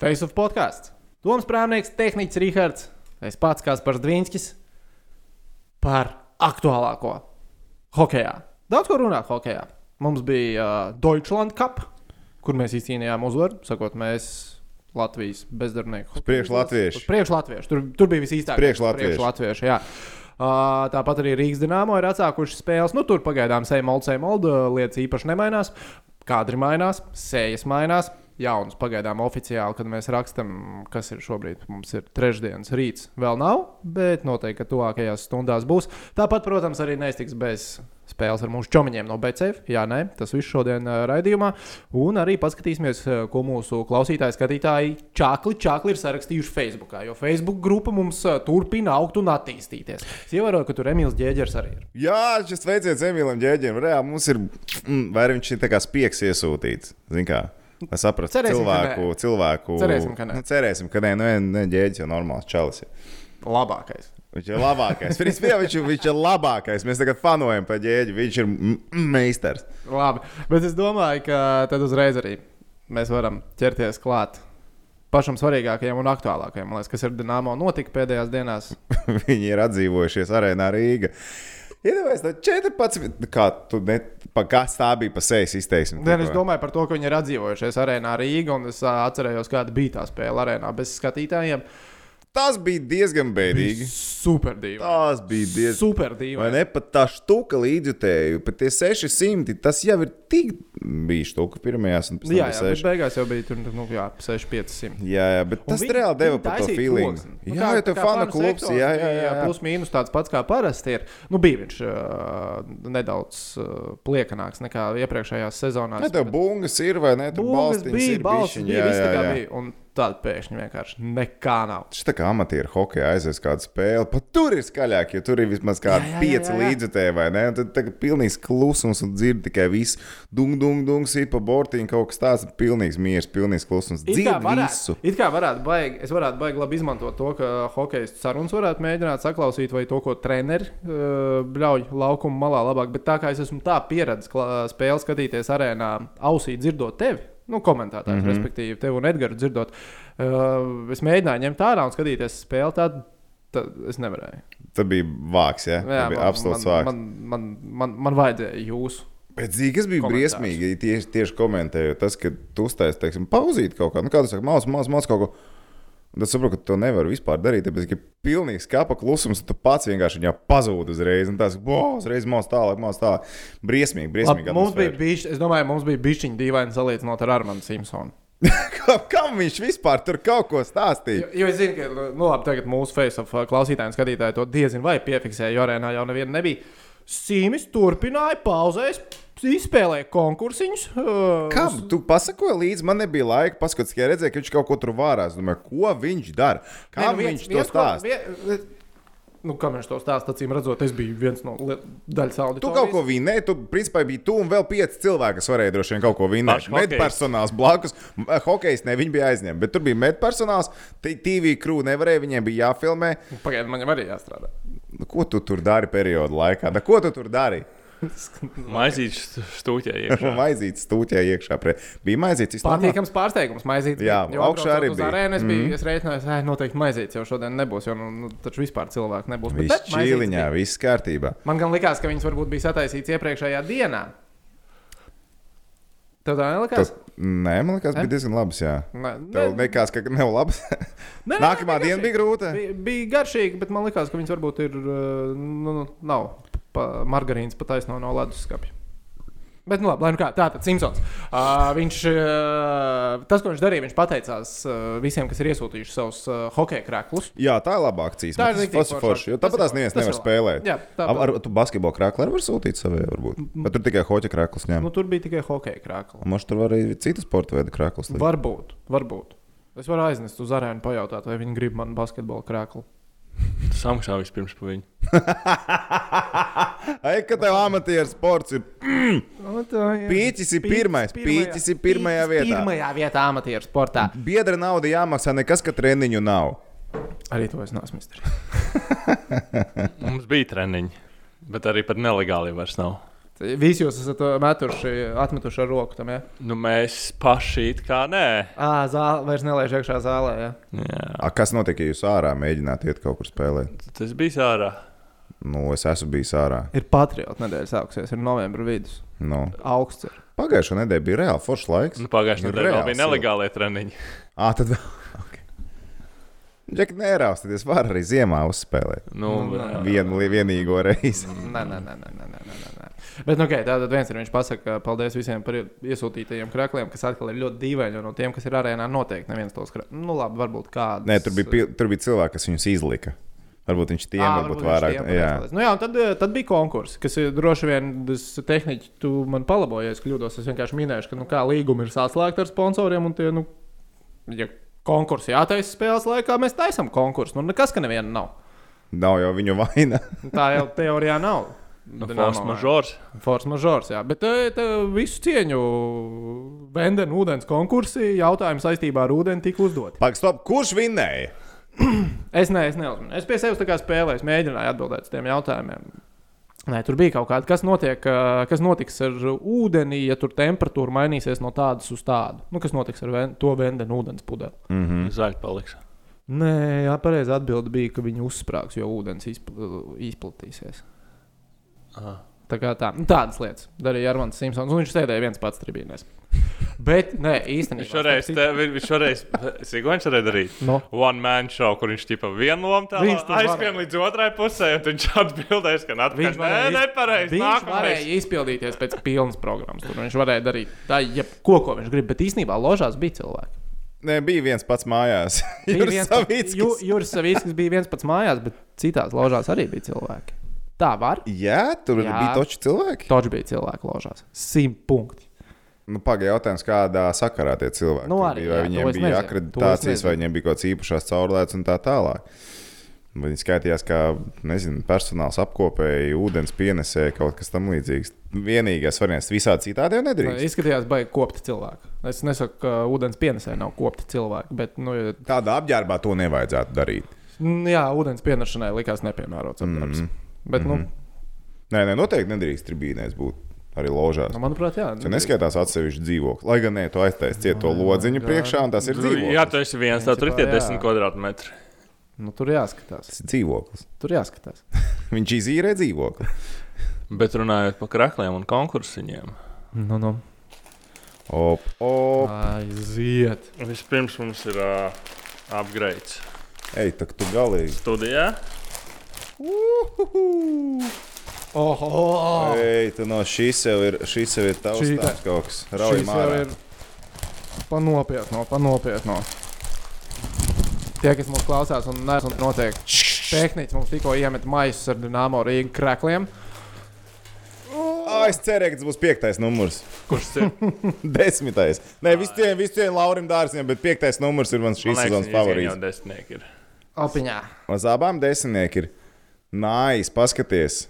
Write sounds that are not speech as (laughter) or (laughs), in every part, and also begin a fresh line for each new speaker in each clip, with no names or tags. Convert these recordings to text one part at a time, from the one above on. Face of podkāsts. Toms Prāvnieks, Tehnikas Rīgards, es pats kāds par Dvīnskis par aktuālāko hokeju. Daudz ko runāt hokeju. Mums bija uh, Deutschland Cup, kur mēs izcīnījām uzvaru, sakot, mēs Latvijas bezdarbinieku.
priekšu latviešu.
Priekšlatviešu. Tur, tur bija viss īstākais.
Priekšlatviešu.
Priekšlatviešu, jā. Uh, tāpat arī Rīgas dīnāmo ir atsākuši spēles. Nu, tur pagaidām sēžamolds, sēžamolds, lietas īpaši nemainās. Kadri mainās, sējas mainās. Jauns pagaidām oficiāli, kad mēs rakstām, kas ir šobrīd. Mums ir trešdienas rīts, vēl nav, bet noteikti, ka tuvākajās stundās būs. Tāpat, protams, arī nestiks bez spēles ar mūsu čomiņiem no BCF. Jā, nē, tas viss šodien uh, raidījumā. Un arī paskatīsimies, uh, ko mūsu klausītāji, skatītāji čakli, čakli ir sarakstījuši Facebook. Jo Facebook grupa mums uh, turpina augt un attīstīties. Es ievēroju, ka tur Emīls Džēģers arī ir.
Jā, šis veiciens Emīlam Džēģim. Reāli mums ir, mm, vai arī viņš ir tā kā spiegs iesūtīts. Zini kā? Lai saprastu
Cerēsim, ka
cilvēku, cilvēku.
Cerēsim, ka nē.
Nu, cerēsim, ka nē, nu, nē, ģēģis jau normāls čalis. ir.
Labākais.
Viņš ir labākais. Principā, viņš, ir- viņš ir labākais. Mēs tagad fanojam par ģēģi. Viņš ir mm, mm, meistars. (laughs)
Labi. Bet es domāju, ka tad uzreiz arī mēs varam ķerties klāt. Pašam svarīgākajam un aktuālākajam, man liekas, kas ar Dienāmo notika pēdējās dienās.
Viņi ir atdzīvojušies arēnā Rīgā. Iedomājieties, tā 14. nu, Kā tu ne, pa, kas tā bija pa sejas izteiksme?
Nē, nu, es domāju par to, ka viņi ir atdzīvojušies arēnā Rīgā, un es ā, atcerējos, kāda bija tā spēle arēnā bez skatītājiem.
Tas bija diezgan bēdīgi.
Super dīvaini.
Tas bija diezgan.
Super
Vai
dīvaini.
ne pat tā stūka līdzjutēju, pat tie 600, tas jau ir tik bija stūka pirmajās un pēc tam
Jā,
bija
jā, bet
6.
beigās jau bija tur, nu, jā, 6500.
Jā, jā, bet tas
viņi-
reāli deva
viņi
par to
taisīja
feeling.
ploksni. Nu,
Jā, jau tā fanu klubs,
sektors
jā, jā,
bija,
jā. jā.
Plus mīnus tāds pats kā parasti ir. Nu, bija viņš uh, nedaudz uh, pliekanāks nekā iepriekšējās sezonās.
Nē, tev bungas ir vai ne? Tur
Bungas
balstiņas
bija,
ir
balsts
bišķiņ,
bija,
jā,
viss tā
jā,
kā
jā.
bija. Un tad pēkšņi vienkārši nekā nav.
Šis tā kā amatieru hokeja aizies kāda spēle, pat tur ir skaļāk, jo tur ir vismaz kādi
Jā, jā, jā,
pieci
jā, jā.
līdzekļi, vai ne? Un Tad ir pilnīgs klusums un dzird tikai visu dung, dung, dung, sīt pa bortiņu, kaut kas tāds - pilnīgs miers, pilnīgs klusums.
It kā
Dzird
varētu,
visu.
it kā varētu baigi, es varētu baigi labi izmantot to, ka hokeja sarunas varētu mēģināt saklausīt, vai to, ko treneris uh, bļauj laukuma malā labāk. Bet tā kā es esmu tā pieredzējis klā- spēli skatīties arēnā, ausī dzirdot tevi. Nu, komentētājs,
Mhm.
mm -hmm. respektīvi, tevi un Edgars dzirdot. Uh, es mēģināju ņemt ārā un skatīties spēli. Tad, tad es nevarēju.
Tas bija vāks, jā, jā bija absolūts vāks.
man, man, man, man vajadzēja jūsu.
Bet zī, kas bija
Komentārs.
briesmīgi, tieši, tieši komentējot, tas, ka tu uztaisīji, teiksim, pauzīt kaut kā, nu, kādu saktu, māsu, māsu, māsu kaut ko. Un tad saprotu, ka to nevar vispār darīt, tāpēc, ka ir pilnīgs kāpa klusums, un tu pats vienkārši viņā pazūd uzreiz. Un tas, wow, uzreiz māsu tālāk, māsu tālāk. Briesmīgi,
Labi,
briesmīgi.
mums bija
atmosfēra.
bišķi, es domāju, mums bija bišķiņa dīvaini salīdzinot ar Armando Simpsonu.
(laughs) Kam- Kam viņš vispār tur kaut ko
Jo,
stāstīja?
jo es zinu, ka nu, labi, tagad mūsu Facebook klausītājiem, skatītājiem to diezgan vai piefiksēja, jo arēnā jau neviena nebija. Sīmis turpināja pauzēs, izspēlēja konkursiņus. Uh,
Kam? Tu pasakoji līdzi, man nebija laika paskatīties, ka redzēju, ka viņš kaut ko tur vārās. Domāju, ko viņš dara?
Nē,
Kā
nu, viens-
viņš to
viens ko-
stāsta?
vien- Nu, kam viņš to stāsta? Acīm redzot, es biju viens no li- daļas
Tu
auditorijas.
kaut ko vinnēji, tu principā biji tu un vēl pieci cilvēki, kas varēja droši vien kaut ko vinnēt.
Paši hokejisti.
Medpersonāls blakus, m, hokejs ne, viņi bija aizņemti, bet tur bija medpersonāls, t- TV krūve nevarēja, viņiem bija jāfilmē.
Pagaidiet, man jau arī jāstrādā.
Nu, Ko tu tur dari periodu laikā? Da, ko tu tur dari?
Maizīt stūķē
(laughs)
iekšā.
Maizīts stūķē iekšā. Pre... Bija maizīts vispār.
Patīkams pārsteigums, maizīt.
Jā,
jo atbraucot
augšā arī
uz
bija. Mhm.
Arēnu, es biju, mm. es rēķinājos, ka noteikti maizīts jau šodien nebūs, jo nu, nu, taču vispār cilvēku nebūs. Bet
Viss
tad maizītes
čīliņā,
bija.
viss kārtībā.
Man gan likās, ka viņas varbūt bija sataisītas iepriekšējā dienā. Tev tā nelikās?
Tas... Nē, man liekas, bija diezgan labs. Jā.
Nē,
Tev nekās, ka nav labs.
nē, nē,
Nākamā
nē,
diena bija grūta.
Bija, bija garšīgi, bet man likās, ka viņas varbūt ir. uh, Nu, nu, nav pa, margarīnas pat taisno no leduskapja. Bet, nu, labi, lai nu kā. Tā tad Simpsons. Uh, viņš, uh, tas, ko viņš darīja, viņš pateicās uh, visiem, kas ir iesūtījuši savus uh, hokeja krāklus.
Jā, tā ir labāka cīņa.
Tā ir
Tas
riktīgi
tas
foršāk.
forši. jo
Tas
Tāpat
ir
tās neviens
tas ir
nevar
labi.
spēlēt.
Jā, tā
Ar, ar, tu basketbolu krāklā arī var sūtīt savai, varbūt. Bet tur tikai hoķa krāklus ņem.
Nu, tur bija tikai hokeja krāklis.
Mums tur var arī citas sporta veida krāklus. likt.
Varbūt, varbūt. Es varu aiznest uz arēnu, pajautāt, vai viņi grib manu basketbalu krāklu.
Samaksā vispirms par viņu.
Ai, ka tev amatieru sports ir
Nu, tā, jā.
Pīķis ir
Pīķis
pirmais,
pirmajā-
pīķis ir pirmajā
pīķis
vietā.
Pirmajā vietā amatieru sportā.
biedra nauda jāmaksā, nekas, ka treniņu nav.
Arī to es neesmu izdarījis.
Mums bija treniņi, bet arī par nelegāliem vairs nav.
Tas Visi jūs esat ā, metuši, atmetuši ar roku tam, ja?
Nu, mēs paši it kā nē.
Ā, zāle, vairs nelaiž iekšā zālē, ja?
Jā,
A, kas notiek, ja jūs ārā mēģināt iet kaut kur spēlēt?
tas bija ārā.
Nu, es esmu bijis ārā.
Ir patriota nedēļa sāksies, ir novembra vidus.
Nu,
Augsts ir.
pagājušā nedēļa bija reāli foršs laiks.
Mm.
Nu, Pagājušajā
Nu,
nedēļā vēl
reāli
bija
silti.
nelegālie treniņi.
Ah, tad vēl. (laughs) Okay. Džek, neraustieties, var arī ziemā uzspēlēt.
Nu,
Nu,
jā.
Vienu li- vienīgo reizi.
Nē, nē, nē, nē, nē, nē, nē, nē. Bet, nu, okay, tātad viens ir viņš pasakā, paldies visiem par iesūtītajiem krākliem, kas atkal ir ļoti dīvaini. jo No tiem, kas ir arēnā, noteikti neviens tos krāklus. Nu, labi, varbūt kāds.
Nē, tur bija, pil- tur bija cilvēki, kas viņus izlika. Varbūt viņš tiem
Ā,
varbūt
varbūt viņš
vairāk.
tiem
Jā,
pareizi. Nu, jā, un tad, eh, tad bija konkurss, kas eh, droši vien tas tehniķis, tu man palabojies, kļūdos. Es vienkārši minēju, ka nu, kā līguma ir saslēgta ar sponsoriem. un Tie, nu, ja konkurss jātaisa spēles laikā, mēs taisām konkursu. Nu, nekas, ka neviena nav.
nav jau viņu vaina. (laughs)
Nu, Tā jau teorijā nav.
Nu,
Dinamo,
Fons
jā.
mažors.
Force mažors, jā. Bet eh, te, visu cieņu Vendēna ūdens konkursī jautājumu saistībā ar ūdeni tika uzdoti.
Pagaid, stop, kurš vinnēja?
Es ne, es neuzmanu. Es pie sevis tā kā spēlēju, es mēģināju atbildēt uz tiem jautājumiem. Nē, tur bija kaut kāda, kas, notiek, eh, kas notiks ar ūdeni, ja tur temperatūra mainīsies no tādas uz tādu. Nu, kas notiks ar ven, to vendēnu ūdens pudeli?
Mm -hmm.
Zaļš paliks.
Nē, jā, pareizi atbildi bija, ka viņi uzsprāgs, jo ūdens izpl izplatīsies.
Aha.
Tā kā tā, nu, tādas lietas darīja Armāns Simpsons. un Viņš sēdēja viens pats tribīnēs. Bet, nē, īstenībā.
(laughs) Viņš šoreiz, te, vi- viņš šoreiz, cik viņš varēja darīt?
No.
One man show, kur viņš tipā vienu lomu tā
Viņš to
aizskrien līdz otrai pusē, un viņš atbildēs, ka
Viņš
atpakaļ. Nē,
varēja iz-
nepareizi.
Viņš
Nākamais.
varēja izpildīties pēc pilnas programmas. Tur viņš varēja darīt tā, jebko, ko viņš grib. Bet īstenībā ložās bija
(laughs)
cilvēki.
Nē, bija viens pats mājās. (laughs)
Bija
Juris
viens pats-
Savickis.
Ju- Juris Savīskis bija viens pats mājās, bet citās ložās arī bija cilvēki. Tā var.
Jā, tur
Jā.
Jā. bija toči cilvēki.
Toč bija cilvēki ložās. Simt punkti.
Nu, Pagaid, jautājums, kādā sakarā tie cilvēki
Nu,
tur
arī,
bija. Vai
jā, to
viņiem
es
bija
nezinu, to es
akreditācijas,
nezinu.
vai viņiem bija kaut kāds īpašs caurlaids un tā tālāk. Vai Viņi skaitījās, kā nezinu, personāls apkopēji, ūdens pienesēji, kaut kas tamlīdzīgs. Vienīgais variants visā citādi jau nedrīkst.
Izskatījās, baigi kopti cilvēki. Es nesaku, ka ūdens pienesē nav kopti cilvēki, bet, nu, ja
Tādā apģērbā to nevajadzētu darīt.
Mm, Jā, ūdens pienešanai likās nepiemērots apgabals. Mm
Mhm.
-hmm. Bet, nu, mm
Mhm. Nē, nē, noteikti nedrīkst tribīnēs būt arī ložās.
-hmm. manuprāt, jā.
Tu neskaitās atsevišķi dzīvokli. Lai gan, nē, tu aiztaisi cieto
Ai,
lodziņu
Oh God.
priekšā, un tas ir dzīvoklis.
Jā, tu esi viens, tad tur ir tie
Principā, jā.
10 kvadrātmetri.
Nu, tur jāskatās.
Tas ir dzīvoklis.
Tur jāskatās.
Viņš izīrē dzīvokli.
Bet runājot par krakliem un konkursiņiem,
Nu, nu.
Op, op.
Aiziet.
vispirms mums ir uh, upgrades
Ej, tak tu galīgi.
studijā.
Uhuhu.
Oho!
Ej, tu no šīs jau ir, šīs jau ir tavs
Oh. Šī
tāds kaut kas. Rauj
Šis jau
mārā.
ir panopietno, panopietno. Tie, kas mūs klausās un nezina, notiek. Tehnicis mums tikko iemet maisus ar dīnāmo Rīgā krākliem.
Ai, es cerēju, ka tas būs piektais numurs. (laughs)
(laughs) Kurš tas ir?
Desmitais. Nē, visiem, visiem Laurim dārziem, bet piektais numurs ir mans šīs sezonas
Jā,
favorīts.
desmitnieki ir.
Apiņā.
Uz abām desmitnieki ir. Nāis, paskaties.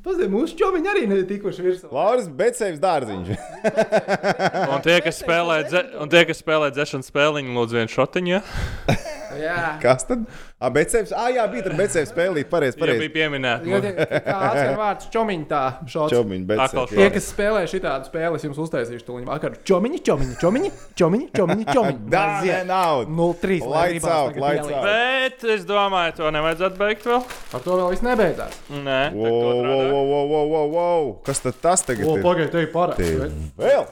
Pazem, mūsu čomiņi arī netikuši virsū.
Lauris Betsevs dārziņš.
Un tie, kas spēlē, dze, un tie, kas spēlē dzēšanu spēliņu, lūdzu, vienu šotiņu. Ja?
Jā.
Kas tad? Ah, Betsevs. Ah, jā, bija tur Betsevs spēlīt. Pareiz,
Jā,
pareiz.
bija pieminēta.
Jā,
nu,
tie- Kā atskan vārds čomiņi tā šāds.
Čomiņ,
Atkal
Betsevs.
Tie,
jā.
kas spēlē šādu spēli, es jums uztaisīšu to vakar. Čomiņi, čomiņi, čomiņi, čomiņi, čomiņi. čomiņi.
Dā, nē, nav.
0-3. lai
Lights
gribās
out,
tagad
lights
ielikt.
out.
Bet es domāju, to nevajadzētu beigt vēl.
Ar to vēl viss nebeidzās.
Nē,
Wow, wow, wow, wow, wow, wow, wow. Kas tad tas tagad
O,
ir?
pagaidi, te ir paraksts.
Tie-
vai?
Vēl!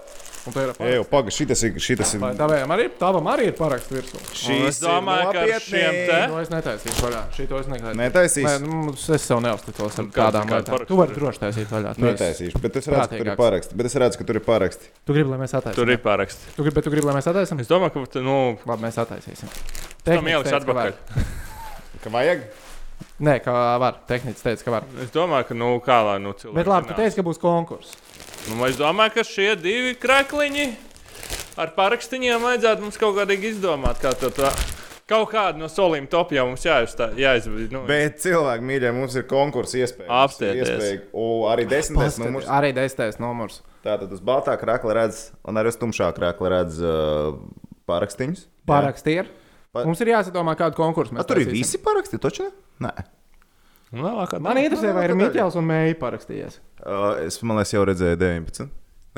Un te ir
Ej,
paraksts.
pagaidi, šitas ir. Šitas ir.
Vai tavējam arī, tavam arī ir paraksts virsū.
Šīs
Es domāju,
ir
ka ar
nopietni.
šiem te-
To es netaisīšu vaļā. Šito es netaisīšu.
Netaisīsi?
Nē, nu, mums- es sev neuzticos ar
Nu, kāds-
kādām
kāds
lietām.
paraksts
Tu vari droši taisīt vaļā. Tu esi-
Netaisīšu, bet es redzu, ka tur ir
nu- Prātīgāks.
paraksti. Bet es redzu, ka tur ir paraksti.
Tu gribi, lai mēs attaisīsim.
Tur ir pāraksts.
Tu gribi, bet tu gribi, lai mēs attaisīsim.
Es domāju, ka tu, nu,
Labi, mēs attaisīsim.
tam
Tehnicis
ieliks
teica, ka var.
atpakaļ.
Ka vajag?
Nē, ka var. Tehnicis teica, ka var.
Es domāju, ka, nu, kā lai nu cilvēki.
Bet labi, tu
zinās.
teici, ka būs konkurss.
Nu, es domāju, ka šie divi krakliņi ar parakstiem vajadzētu mums kaut kādīgi izdomāt. Kā to, tā, kaut kādu no solījuma top jau mums jāizdarīt. Nu,
Bet cilvēki, mīļie, mums ir konkurss iespēja.
Apstieties.
Mums ir iespēja. O, arī desmitais
Paskati,
numurs.
Arī desmitais numurs.
Tātad uz baltā krākla redz, un arī uz tumšā krākla redz uh, parakstīņus.
Paraksti ir.
Pa-
Mums ir jāsadomā, kādu konkursu
Jā. A,
mēs
tur ir
taisīsim.
visi paraksti, taču? ne? Nē.
Un vēlāk, kad
Man
Nu,
interesē, vai ir Mikls un Mēja parakstījies.
Uh, es man liekas, jau redzēju 19.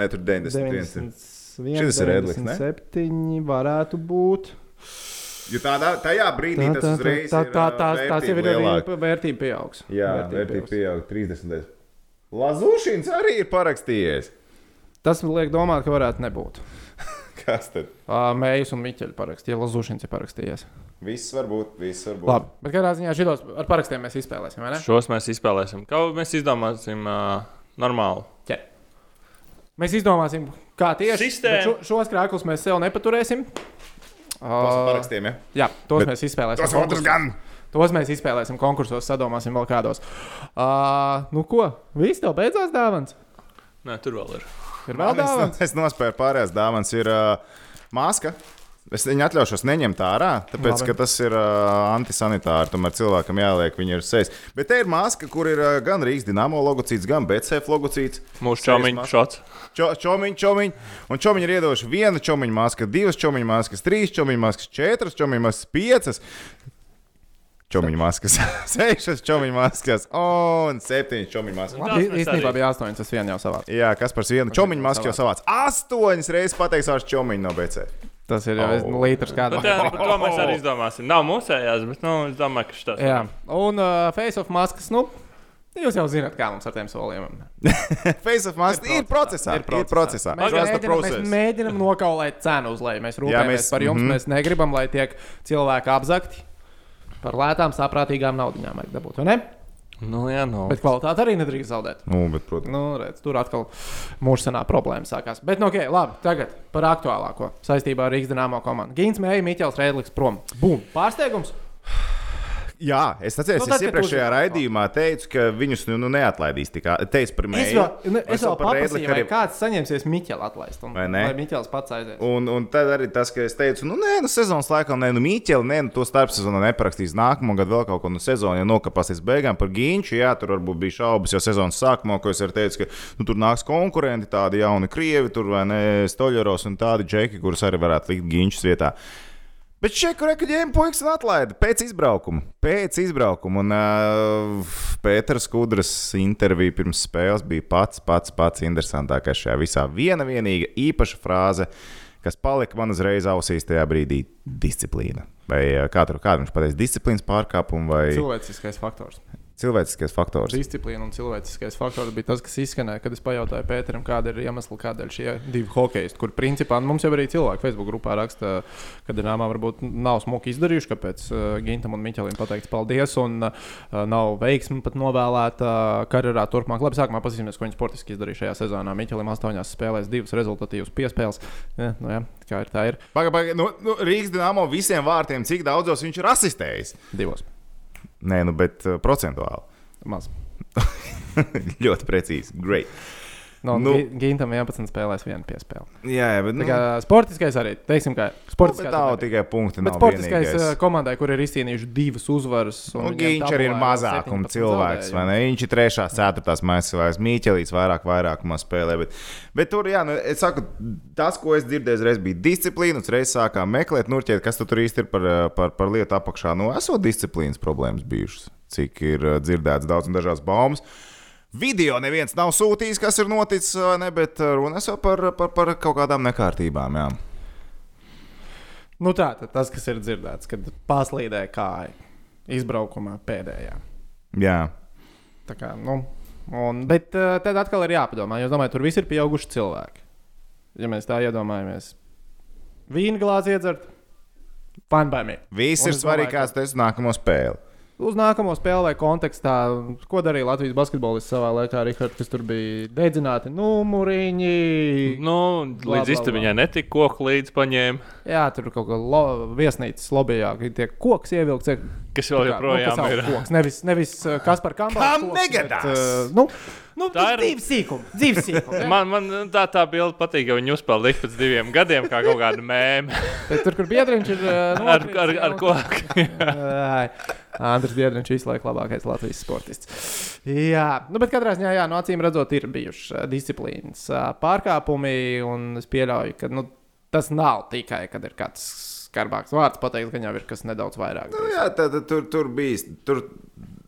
Nē, tur 91. ir.
91,
Šis ir Edlis, ne?
97 varētu būt.
Jo tādā, tajā brīdī
Tā,
tas
tā, tā,
uzreiz
tā,
ir,
tā,
ā,
tās, tās jau ir
vērtība
arī
lielāka.
pa- vērtība pieaugs.
Jā, vērtība pieauga 30. Lazūšins arī ir parakstījies. (laughs)
Tas man liek domāt, ka varētu nebūt.
Kas tad?
Uh, Mējus un Miķeļa parakstīja, Lazūšins ir parakstījies.
Viss var būt, viss var būt.
Labi, bet kādā ziņā šitos ar parakstiem mēs izspēlēsim, vai ne?
Šos mēs izspēlēsim. Kā mēs izdomāsim uh, normālu?
Jā. Mēs izdomāsim, kā tieši
Sistēma.
bet Šo, šos krāklus mēs sev nepaturēsim.
Tas ir
Uh,
parakstiem, ja?
jā, tos
Bet
bet mēs izspēlēsim.
Tas otrs
konkursos.
gan.
Tos mēs izspēlēsim konkursos, sadomāsim vēl kādos. Uh, nu ko, viss tev beidzās dāvāns?
Nē, tur vēl ir.
Ir vēl dāvāns?
Es, es nospēju pārējās dāvāns. Ir uh, maska. Es viņu atļaušos neņemt ārā, tāpēc,
Labi.
ka tas ir uh, antisanitāri. Tomēr cilvēkam jāliek, viņa ir sejas. Bet te ir maska, kur ir uh, gan Rīgas dīnāmo logocīts, gan BCF logocīts.
Mūsu
Sejas
čaumiņu
maska.
šots.
Čo- Čomiņš, čomiņš, un čomiņš ir iedodas viena čomiņa maska, divas čomiņa maskas, trīs čomiņa maskas, četras čomiņa maskas, piecas. Čomiņa maskas, (laughs) sešas čomiņa maskas un septiņas čomiņa maskas.
Tās mēs
Īstenībā
arī.
bija astoņas, tas vien jau savā.
Jā, kas par vienu čomiņu masku jau savāc? Astoņas reizes pateiks ar čomiņu no
(laughs)
BC.
Tas ir jau
Au.
oh. litrs
Bet,
kādā.
jā, (laughs) par to mēs arī izdomāsim. Nav mūsējās, bet nu, es domāju, ka tas
Jā, un uh, Face of Maskas, nu, jūs jau zināt, kā mums ar tiem solījumiem.
Face of mask ir procesā. Ir procesā. Ir procesā.
Mēs
Trust
mēģinām,
the
mēs
process.
mēģinām nokaulēt cenu uz leju. Mēs rūpējamies
mēs-
par jums. Mm
mhm.
-hmm. Mēs negribam, lai tiek cilvēki apzakti par lētām, saprātīgām naudaiņām. Vajag dabūt, vai ne?
Nu, jā, nu.
Bet kvalitāti arī nedrīkst zaudēt.
Nu, bet, protams,
Nu, redz, tur atkal mūžsanā problēma sākās. Bet, nu, ok, labi. Tagad par aktuālāko saistībā ar Rīgas dīnāmo komandu. Gins Mēja, Mikls Rēdlis prom. Bum! Pārsteigums!
jā, es atceros,
Nu,
nu,
tad,
es
kad tu
iepriekšējā
uzzini-
raidījumā teicu, ka viņus nu, nu, neatlaidīs. Tikā, teicu par
Es
mēģinājumu.
vēl, nu, es vēl paprasīju, vai kāds saņemsies Mikls atlaist. Un,
Vai ne?
Vai Mikls pats aizies?
Un, un tad arī tas, ka es teicu, nu, nē, nu, sezonas laikam, nē, nu, mīķeli, nē, nu, to starpsezonā neprakstīs nākamā gada vēl kaut ko no sezonas, ja nokāpsies beigām par gīņšu. Jā, tur varbūt bija šaubas, jo sezonas sākumā, ko es arī teicu, ka nu, tur nāks konkurenti, tādi jauni krievi, tur vai ne, stoļeros un tādi džeki, kurus arī varētu likt gīņšas vietā. Bet šeku rekuģējumu puikas atlaida pēc izbraukuma. Pēc izbraukuma. Un uh, Pēters Kudras intervija pirms spēles bija pats, pats, pats interesantākais šajā visā. Viena vienīga īpaša frāze, kas palika man uzreiz ausīs tajā brīdī - disciplīna. Vai uh, kā tur kā viņš pateica, disciplīnas pārkāpumu vai
Cilvēciskais faktors.
cilvēciskais faktors?
Disciplīna un cilvēciskais faktors bija tas, kas izskanēja, kad es pajautāju Pēteram, kāda ir iemesla, kādēļ šie divi hokeisti, kur principā nu, mums jau arī cilvēki Facebook grupā raksta, ka Dienāmā varbūt nav smuki izdarījuši, kāpēc uh, Gintam un Miķelim pateikts paldies un uh, nav veiksmi pat novēlēta uh, karjerā turpmāk. Labi, sākumā pazīsimies, ko viņš sportiski izdarīja šajā sezonā. Miķelim astoņās spēlēs divas rezultatīvas piespēles. Ja, nu, ja, kā ir tā ir?
Paga, paga, nu, nu, Rīgas dīnāmo visiem vārtiem, cik daudzos viņš ir asistējis?
Divos.
Nē, nu, bet uh, procentuāli. (laughs)
Maz.
Ļoti precīzi. Great.
No,
Nu.
nu, Gintam 11 spēlēs viena piespēle.
Jā, jā bet.
Tā
Nu,
kā sportiskais arī, teiksim, kā
Nu, bet
sportiskais.
nav
arī.
tikai punkti.
Bet
Nav
sportiskais
vienīgais.
eh, komandai, kur ir izcīnījuši divas uzvaras,
Un
viņiem
viņš arī ir
tabulā
mazākuma
17
cilvēks. vai
zaudējumi.
ne? Viņš ir trešā, ceturtā maisa cilvēks. Mīķelīds vairāk, vairākumā spēlē. Bet, bet tur, jā, nu, es saku, tas, ko es dzirdēju, reiz bija disciplīna. Un reiz sākām meklēt, nu, ķiet, kas tu tur īsti ir par, eh, par, par lietu apakšā. Nu, esot disciplīnas problēmas bijušas, cik ir eh, dzirdēts daudz un dažādas baumas. Video neviens nav sūtījis, kas ir noticis, vai ne, bet eh, runa ir par, par, par kaut kādām nekārtībām. Jā.
Nu, tā tad tas, kas ir dzirdēts, kad paslīdēja kāja izbraukumā pēdējā.
jā.
Tā Kā, nu, un, bet eh, tad atkal ir jāpadomā, jo es domāju, tur viss ir pieauguši cilvēki. Ja mēs tā iedomājamies, vīna glāzi iedzert, fanbaimīgi.
Viss
Un
ir
es
svarīgi,
domāju, ka-
kāds tas ir nākamo spēli.
Uz nākamo spēlē kontekstā, ko darīja Latvijas basketbolists savā laikā, Rihards, kas tur bija dedzināti Nu, numuriņi.
Nu,
Blā, blā,
līdz istabiņai netika koku līdz paņēma,
Jā, tur kaut kā lo, viesnīcas lobbyā ka tiek koks ievilkts. ir-
kas
tā
vēl
kā,
joprojām
nu, kas
ir.
auga Koks, nevis, nevis uh, kas par kampu.
Kam negadās?
nu, nu,
Tā
tā ir
ir-
dzīves sīkuma. Dzīves sīkuma. jā.
Man, man tā, tā bilde patīk, ka viņi uzspēlēja pēc diviem gadiem, kā kaut kāda mēmija.
Bet tur, kur biedriņš ir. Uh, (laughs)
ar,
nokrits,
ar, ar
jā,
ko?
(laughs) Ai, Andris Biedriņš visu laiku labākais Latvijas sportists. Jā, nu, bet katrā ziņā, jā, no acīm redzot, ir bijuši ā, disciplīnas ā, pārkāpumi. Un es pieļauju, ka nu, tas nav tikai, kad ir kāds skarbāks vārds pateikts, ka viņam ir kas nedaudz vairāk.
Nu, jā, tad, tad, tur, tur bija. Tur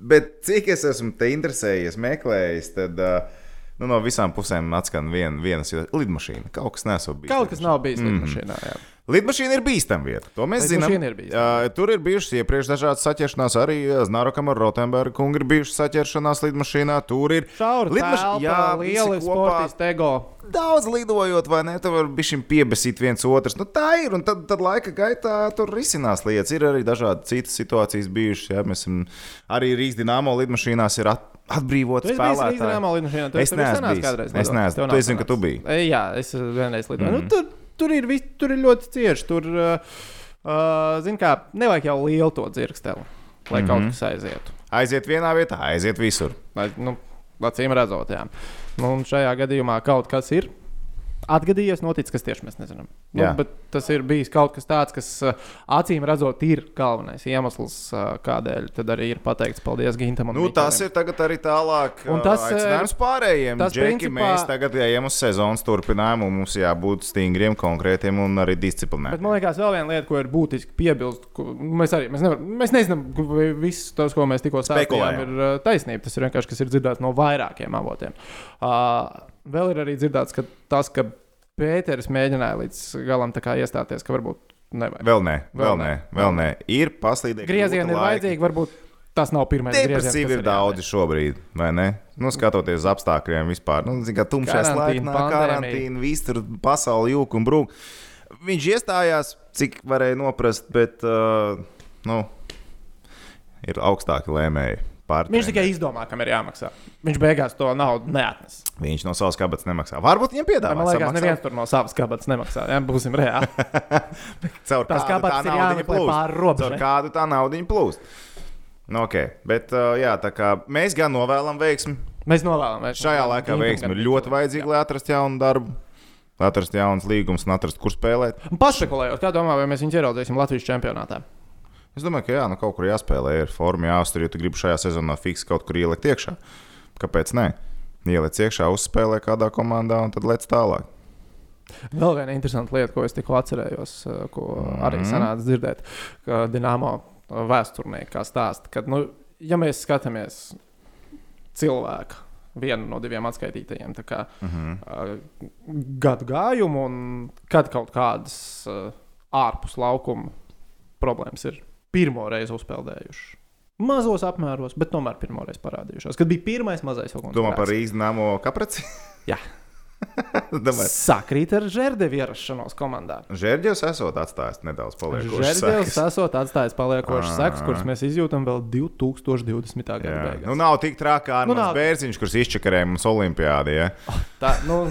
Bet cik es esmu te interesējies, meklējis, tad uh, nu, no visām pusēm atskan vien, vienas lidmašīna. Kaut kas nesot bijis.
Kaut kas nav bijis
Mhm.
mm. lidmašīnā. Jā.
Lidmašīna ir bīstama vieta. To mēs zinām.
Lidmašīna ir bīstama.
Uh, tur ir bijušas iepriekš dažādas saķeršanās. Arī uh, Znārokam ar Rotenbergu kungu ir bijušas saķeršanās lidmašīnā. Tur ir
Šaura
lidmaš-
telpa,
jā, visi
lieli
kopā.
sportisti, ego.
Daudz lidojot, vai ne? Tur var bijis piebesīt viens otrs. Nu, tā ir. Un tad, tad laika gaitā tur risinās lietas. Ir arī dažādi citas situācijas bijušas. Jā, mēs esam arī Rīgas dīnāmo lidmašīnās ir at, atbrīvots
Tu esi bijis
spēlētājs.
Rīgā līnijā.
Es neesmu bijis. Es neesmu. Tu es zinu, ka tu biji. Mhm.
Jā, es vienreiz lidoju. Mm. Nu, tur, tur, ir, vis- tur ir ļoti cieši. Tur, uh, zin kā, nevajag jau lielu to dzirksteli,
Mhm.
lai mm -hmm. kaut kas aizietu.
Aiziet vienā vietā, aiziet visur.
Lai, nu, acīm redzot, jā. Nu, un šajā gadījumā kaut kas ir. Atgadījies, noticis, kas tieši mēs nezinām. Nu,
Jā.
bet tas ir bijis kaut kas tāds, kas uh, acīm redzot, ir galvenais iemesls, uh, kādēļ tad arī ir pateikts paldies Gintam. un
Nu,
Mikalim.
tas ir tagad arī tālāk.
Un
ā,
tas, eh,
aicinājums pārējiem.
tas
Džeki,
principā-
mēs tagad ejam uz sezonas turpinājumu. un Mums jābūt stingriem, konkrētiem un arī
Bet
disciplinētiem.
man liekas, vēl viena lieta, ko ir būtiski piebilst, ko mēs arī mēs nevar, mēs nezinām, vai viss tas, ko mēs tikko sākām,
Spekulējam.
ir uh, taisnība. Tas ir vienkārši kas ir dzirdēts no vairākiem avotiem. Uh, vēl ir arī dzirdēts, ka tas, ka Pēters mēģināja līdz galam tā kā iestāties, ka varbūt nevajag.
Vēl nē, vēl
Vēl
nē,
nē.
vēl nē. Ir paslīdēji.
Griezieni ir vajadzīgi, varbūt tas nav pirmais grieziens.
Depresīvi ir daudzi šobrīd, vai ne? Nu, skatoties uz apstākļiem vispār, nu, zin, kā tumšā
Karantīna,
slāpekā,
pandēmija.
karantīna, viss tur pasaule jūka un brūk. Viņš iestājās, cik varēja noprast, bet uh, nu, ir augstāki lēmēji. pārtreneri.
Viņš tikai izdomā, kam ir jāmaksā. Viņš beigās to naudu neatnes.
Viņš no savas kabatas nemaksā. Varbūt viņam piedāvā.
Man liekas,
samaksā.
neviens tur no savas kabatas nemaksā. Jā, būsim reāli.
(laughs) Caur
Tās
kādu
kabatas
tā
ir
naudiņa
jāmeklē
plūst.
pāri robežai.
Caur kādu tā naudiņa plūst. Nu, ok, bet uh, jā, tā kā mēs gan novēlam veiksmi.
Mēs novēlamies.
Šajā laikā veiksmi ir ļoti vajadzīga, lai atrastu jaunu darbu, lai atrastu jaunus līgumus un atrastu, kur spēlēt.
Pašsakulējot, kā domā, vai mēs viņu ieraudzīsim Latvijas čempionātā?
Es domāju, ka jā, nu, kaut kur jāspēlē, ir forma jāuztur, ja tu gribi šajā sezonā fiksēt kaut kur ielikt iekšā. Kāpēc ne? Ieliec iekšā, uzspēlē kādā komandā un tad lec tālāk.
Vēl viena interesanta lieta, ko es tikko atcerējos, eh, ko
Mhm.
arī sanāca dzirdēt, ka Dienāmo vēsturniekā stāsta, ka, nu, ja mēs skatāmies cilvēku, vienu no diviem atskaitītajiem tā kā, uh
Mhm.
-huh. gadu gājumu un kad kaut kādas eh, ārpus laukuma problēmas ir pirmo reizi uzpeldējušas. Mazos apmēros, bet tomēr pirmoreiz parādījušās. Kad bija pirmais mazais augums,
Domā par Rīgas namo kapreci? (laughs)
Jā.
Domāju,
Sakrīt ar žērdevi ierašanos komandā.
Žērģis esot atstājis nedauz paliekošas
Žērģis
sekas.
esot atstājis paliekošas
Ā.
sekas, kuras mēs izjūtam vēl 2020. gada
Jā.
beigās.
Nu, nav tik trakā ar
Nu,
nu, mums
nav.
bērziņš, kurš izčakarēja mums olimpiādi. Ja?
Tā, nu,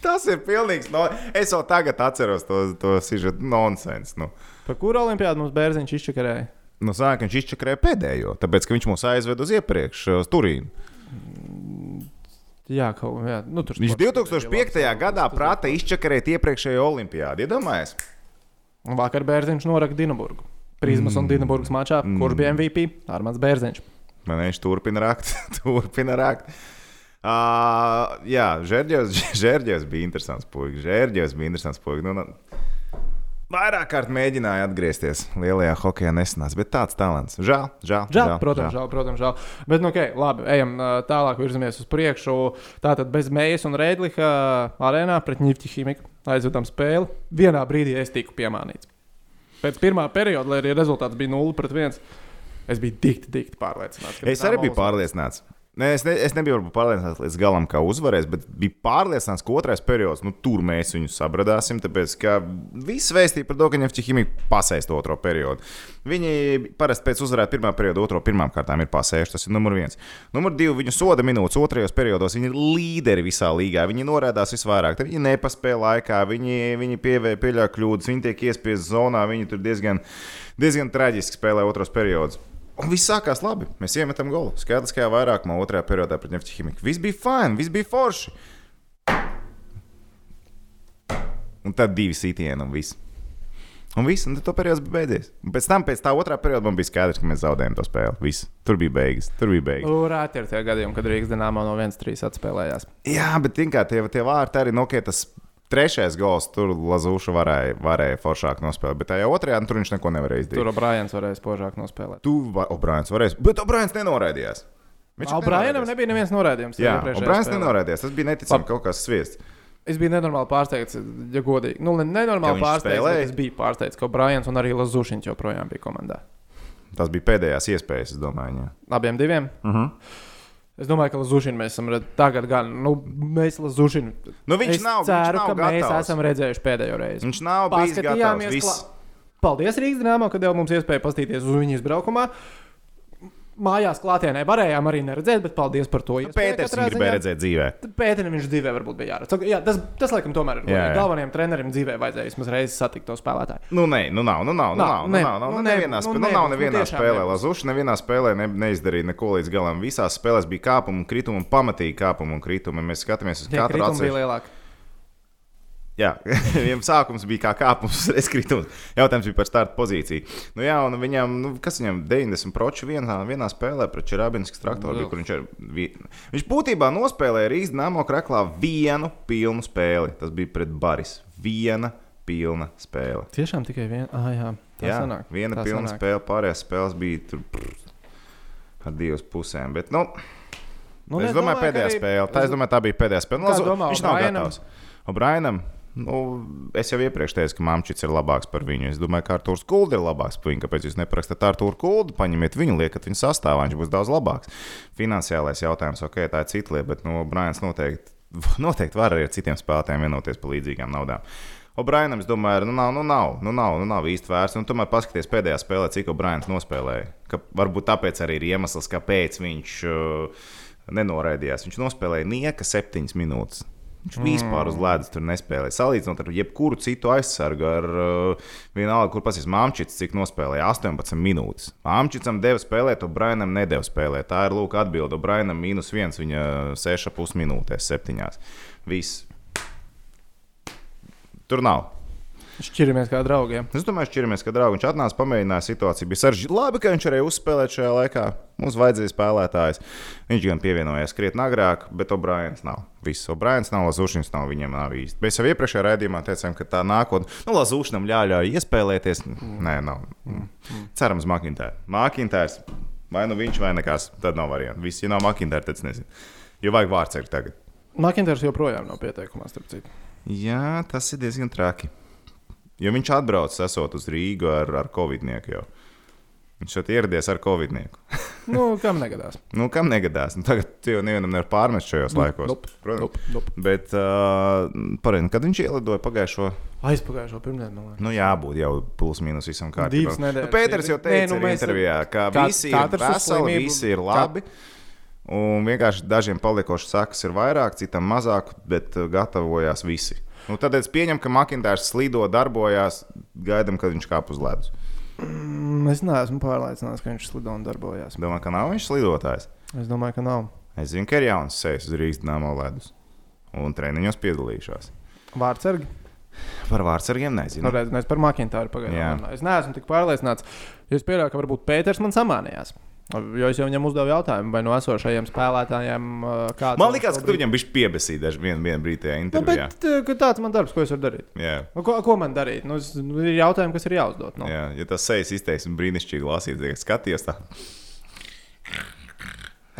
Tas ir pilnīgs. No... Es jau tagad atceros to, to sižetu nonsens. Nu.
par kuru olimpiādu mums bērziņš izčakarēja?
Nu, Sākumā viņš izčakarēja pēdējo, tāpēc ka viņš mūs aizveda uz iepriekš, uz Turīnu.
Jā, kaut kā. Nu, tur
Viņš
sports-
2005. gadā prata izčakarēt iepriekšējo olimpiādu. Iedomājies,
Un vakar bērziņš noraka Dienaburgu. Prismas mm. un Dienaburgas mačā, mm. kurš bija MVP? Armāns Bērziņš.
man viņš turpina rakt, (laughs) turpina rakt. Uh, jā, (laughs) Žērģis bija interesants puisis. Žērģis bija interesants puisis. Nu, nu, vairāk kārt mēģināja atgriezties. Lielajā hokeja nesanāca, bet tāds talants. Žēl, žēl.
Žēl, protams, žēl, protams, žēl. Bet, nu, okay, labi, ejam ā, tālāk, virzamies uz priekšu. Tātad bez Mējas un Reidliha arēnā pret Nīķa ķīmiku aizvedām spēli. Vienā brīdī es tiku piemānīts. Pēc pirmā perioda, lai arī rezultāts bija 0-1, es biju dikti, dikti pārliecināts. ka
Es arī biju
Dinamo uzvarēs.
pārliecināts. Ne, es, ne, es nebiju varbūt pārliecināts līdz galam, kā uzvarēs, bet biju pārliecināts, ka otrais periods, nu, tur mēs viņu sabradāsim. Tāpēc, ka viss vēstīja par to, ka Nefča ķīmija pasēs to otro periodu. Viņi parasti pēc uzvarēta pirmā perioda, otro pirmām kārtām ir pasējuši. Tas ir numur viens. Numur divi, viņu soda minūtes otrajos periodos. Viņi ir līderi visā līgā. Viņi norādās visvairāk. Tad Viņi nepaspēja laikā, viņi, viņi pievē- pieļāva kļūdas, viņi tiek iespiesti zonā. Viņi tur diezgan, diezgan traģiski spēlē otros periodus. Un viss sākās labi. Mēs iemetam golu. Skaidrs, ka jau vairākumā otrajā periodā pret Nefča ķīmiku. Viss bija fini, viss bija forši. Un tad divi sitieni un viss. Un viss, un tad to periods bija beidzies. Un pēc tam, pēc tā otrā perioda, man bija skaidrs, ka mēs zaudējam to spēli. Viss. Tur bija beigas, tur bija beigas.
Nu, Rēti ir tie gadījumi, kad Rīgas dīnāmā no 1-3 atspēlējās.
Jā, bet kā tie, tie vārti arī nokļuva tas Trešais gols tur Lazūša varēja, varēja foršāk nospēlēt, bet tajā otrajā nu, tur viņš neko nevarēja izdarīt.
Tur O'Briens varēs požāk nospēlēt.
Tu vari, O'Briens varēs, bet O'Briens nenoraidījās. Viņš jau
O'Brienam
nenoraidījās.
nebija neviens norādījums.
Jā,
iepriekšējā
O'Briens
spēlē.
nenoraidījās. Tas bija
Labi.
neticami kaut kas sviests.
Es biju nenormāli pārsteigts, ja godīgi. Nu, ne-
Ka
nenormāli
viņš
pārsteigts,
spēlēja?
bet es biju pārsteigts, ka Brians un arī Lazušiņš joprojām bija komandā.
Tas bija pēdējās iespējas, es domāju. Jā.
Abiem diviem.
Uh -huh.
Es domāju, ka Lazušiņš mēs esam redzējuši tagad gan. Nu, mēs Lazušiņu.
Nu, viņš
es
nav- viņš
ceru,
nav
ka mēs
gatavs.
esam redzējuši pēdējo reizi.
Viņš nav bijis gatavs. Viss.
klā- Paldies Rīgas dīnāmam, ka devām mums iespēju paskatīties uz viņu izbraukumā. Mājās klātienē varējām arī neredzēt, bet paldies par to. iespēju
Pēters
katrā
viņu Nu, gribēja
ziņā.
redzēt dzīvē.
Pēters viņš dzīvē varbūt bija jāredz. Jā, tas, tas laikam tomēr ir.
Jā, jā.
godīgi. Galvenajam trenerim dzīvē vajadzēja vismaz reizi satikt to spēlētāju.
Nu, nē, nu nav, nu
Nav,
nav, nu nav, nu
ne,
nav, nav,
nu
nu
ne,
nevienā
nu
spēlē, nu
nebūs,
nav
nu
nevienā
tiešām
spēlē.
nebūs.
Lazuša nevienā spēlē ne, neizdarīja neko līdz galam. Visās spēlēs bija kāpumi, kritumi, pamatīgi kāpumi un kritumi. Mēs skatāmies uz
Tie
katru
kritumi
atsevišķi.
bija lielāki.
Jā, (laughs) viņam sākums bija kā kāpums, (laughs) es kritums. Jautājums bija par starta pozīciju. Nu, jā, un viņam, nu, kas viņam 90 proču vienā, vienā spēlē pret Čerabinskas traktoru,
Nu,
bija, kur viņš, ar vi- viņš būtībā nospēlēja Rīgas Namo Kraklā vienu pilnu spēli. Tas bija pret Baris. Viena pilna spēle.
Tiešām tikai viena. Ah, jā, tā
Jā,
sanāk.
viena
tā
pilna
sanāk.
spēle, pārējās spēles bija tur. prr, Ar divām pusēm. Bet, nu, nu, es
es
domāju,
domāju, ka
pēdējā arī...
arī-
spēlē. Tā, es domāju, tā bija pēdējā spēle.
Tā
Lazu,
domā
viņš nav
O'Brienam.
gatavs. O'Brienam, nu, es jau iepriekš teicu, ka Māmčits ir labāks par viņu. Es domāju, ka Arthurs Kulde ir labāks par viņu. Kāpēc jūs neprakstāt Arthuru Kuldu? Paņemiet viņu, liekat viņu sastāvā, viņš būs daudz labāks. Finansiālais jautājums, ok, tā ir cita lieta, bet nu, O'Briens noteikti, (laughs) noteikti var arī ar citiem spēlētājiem vienoties par līdzīgām naudām. O'Brienam, es domāju, nu nav, nu nav, nu nav, nu nav īsti vērts. Un tomēr paskatieties pēdējā spēlē, cik O'Briens nospēlēja. Ka, varbūt tāpēc arī ir iemesls, kāpēc viņš uh, nenoraidījās. Viņš nospēlēja nieka septiņas minūtes. Viņš mm. vispār uz ledus tur nespēlēja. Salīdzinot ar jebkuru citu aizsargu, ar uh, vienalga, kur pasīs Māmčits, cik nospēlēja 18 minūtes. Māmčicam deva spēlēt, Obrainam nedēva spēlēt. Tā ir lūk atbilde. Obrainam mīnus viens viņa 6,5 minūtēs, 7. Viss. Tur nav.
Šķiramies kā draugiem.
Es domāju, šķiramies, ka draugs atnāca, pamēģināja situāciju. Bija sarežģīti. Labi, ka viņš arī uzspēlēja šajā laikā. Mums vajadzēja spēlētājs. Viņš gan pievienojās krietni agrāk, bet O'Briens nav. Viss O'Briens nav, Lazūšņins nav, viņam nav īsti. Mēs jau iepriekšējā raidījumā teicām, ka tā nākotnē, nu, Lazūšņam ļāļauj iespēlēties. Nē, nav. Cerams, Makintērs. Makintērs. Vai nu viņš vai nekas, tad nav variantu. Visi ja nav Makintērs, tad es nezinu. Jo vajag vārds arī tagad.
Makinters joprojām nav pieteikumā, starp citu.
Jā, tas ir diezgan traki. Jo viņš atbrauc, esot uz Rīgā ar, ar Covid-nieku. Jau. Viņš šeit ieradies ar Covid-nieku.
Nu, kam
(laughs)
negadās?
Nu, kam negadās? Nu, tagad tu jau nevienam nevar pārmest šajos laikos.
Nup, nup, nup.
Bet, uh, pareizi, kad viņš ielidoja pagājušo,
Aizpagājušo pirmdienu, man liekas.
nu, jābūt jau plus mīnus visam kārtībā.
Divas nedēļas
Nu, Pēters jau
ir. Nē,
teica,
nu,
nu,
mēs-
intervijā, ka
kā
kā, visi ir
Tātars uz
veseli,
slimību-
visi ir
kā-
labi. Un vienkārši dažiem paliekošas sakas ir vairāk, citam mazāk, bet uh, gatavojās visi. Nu, tad es pieņemu, ka Makintārs slīdo, darbojās, gaidām, kad viņš kāp uz ledus.
Mm, Es neesmu pārliecināts, ka viņš slido un darbojās.
Domāju, ka nav viņš slidotājs.
Es domāju, ka nav.
Es zinu, ka ir jauns sejas uz Rīgas dīnāmo ledus. Un treniņos piedalīšos.
Vārtsargi.
Par vārdsargiem nezinu.
Pareizi, Nu, mēs par Makintāru
Jā.
pagaidām. runājam. Es neesmu tik pārliecināts. Es pieļauju, ka varbūt Pēters man samānījās. Jo es jau viņam uzdevu jautājumu, vai no esošajiem spēlētājiem ā, kāds.
Man liekas, ka tu viņam bija piebesīji dažs vienā vien brīdī tajā
Nu,
intervijā.
bet ā, ka tāds man darbs, ko es varu darīt.
Jā.
Nu, Ko, ko man darīt? Nu, es, nu, ir jautājumi, kas ir jāuzdod. Nu.
Jā, ja tas sejas izteiksme brīnišķīgi lasīt, tad skaties tā.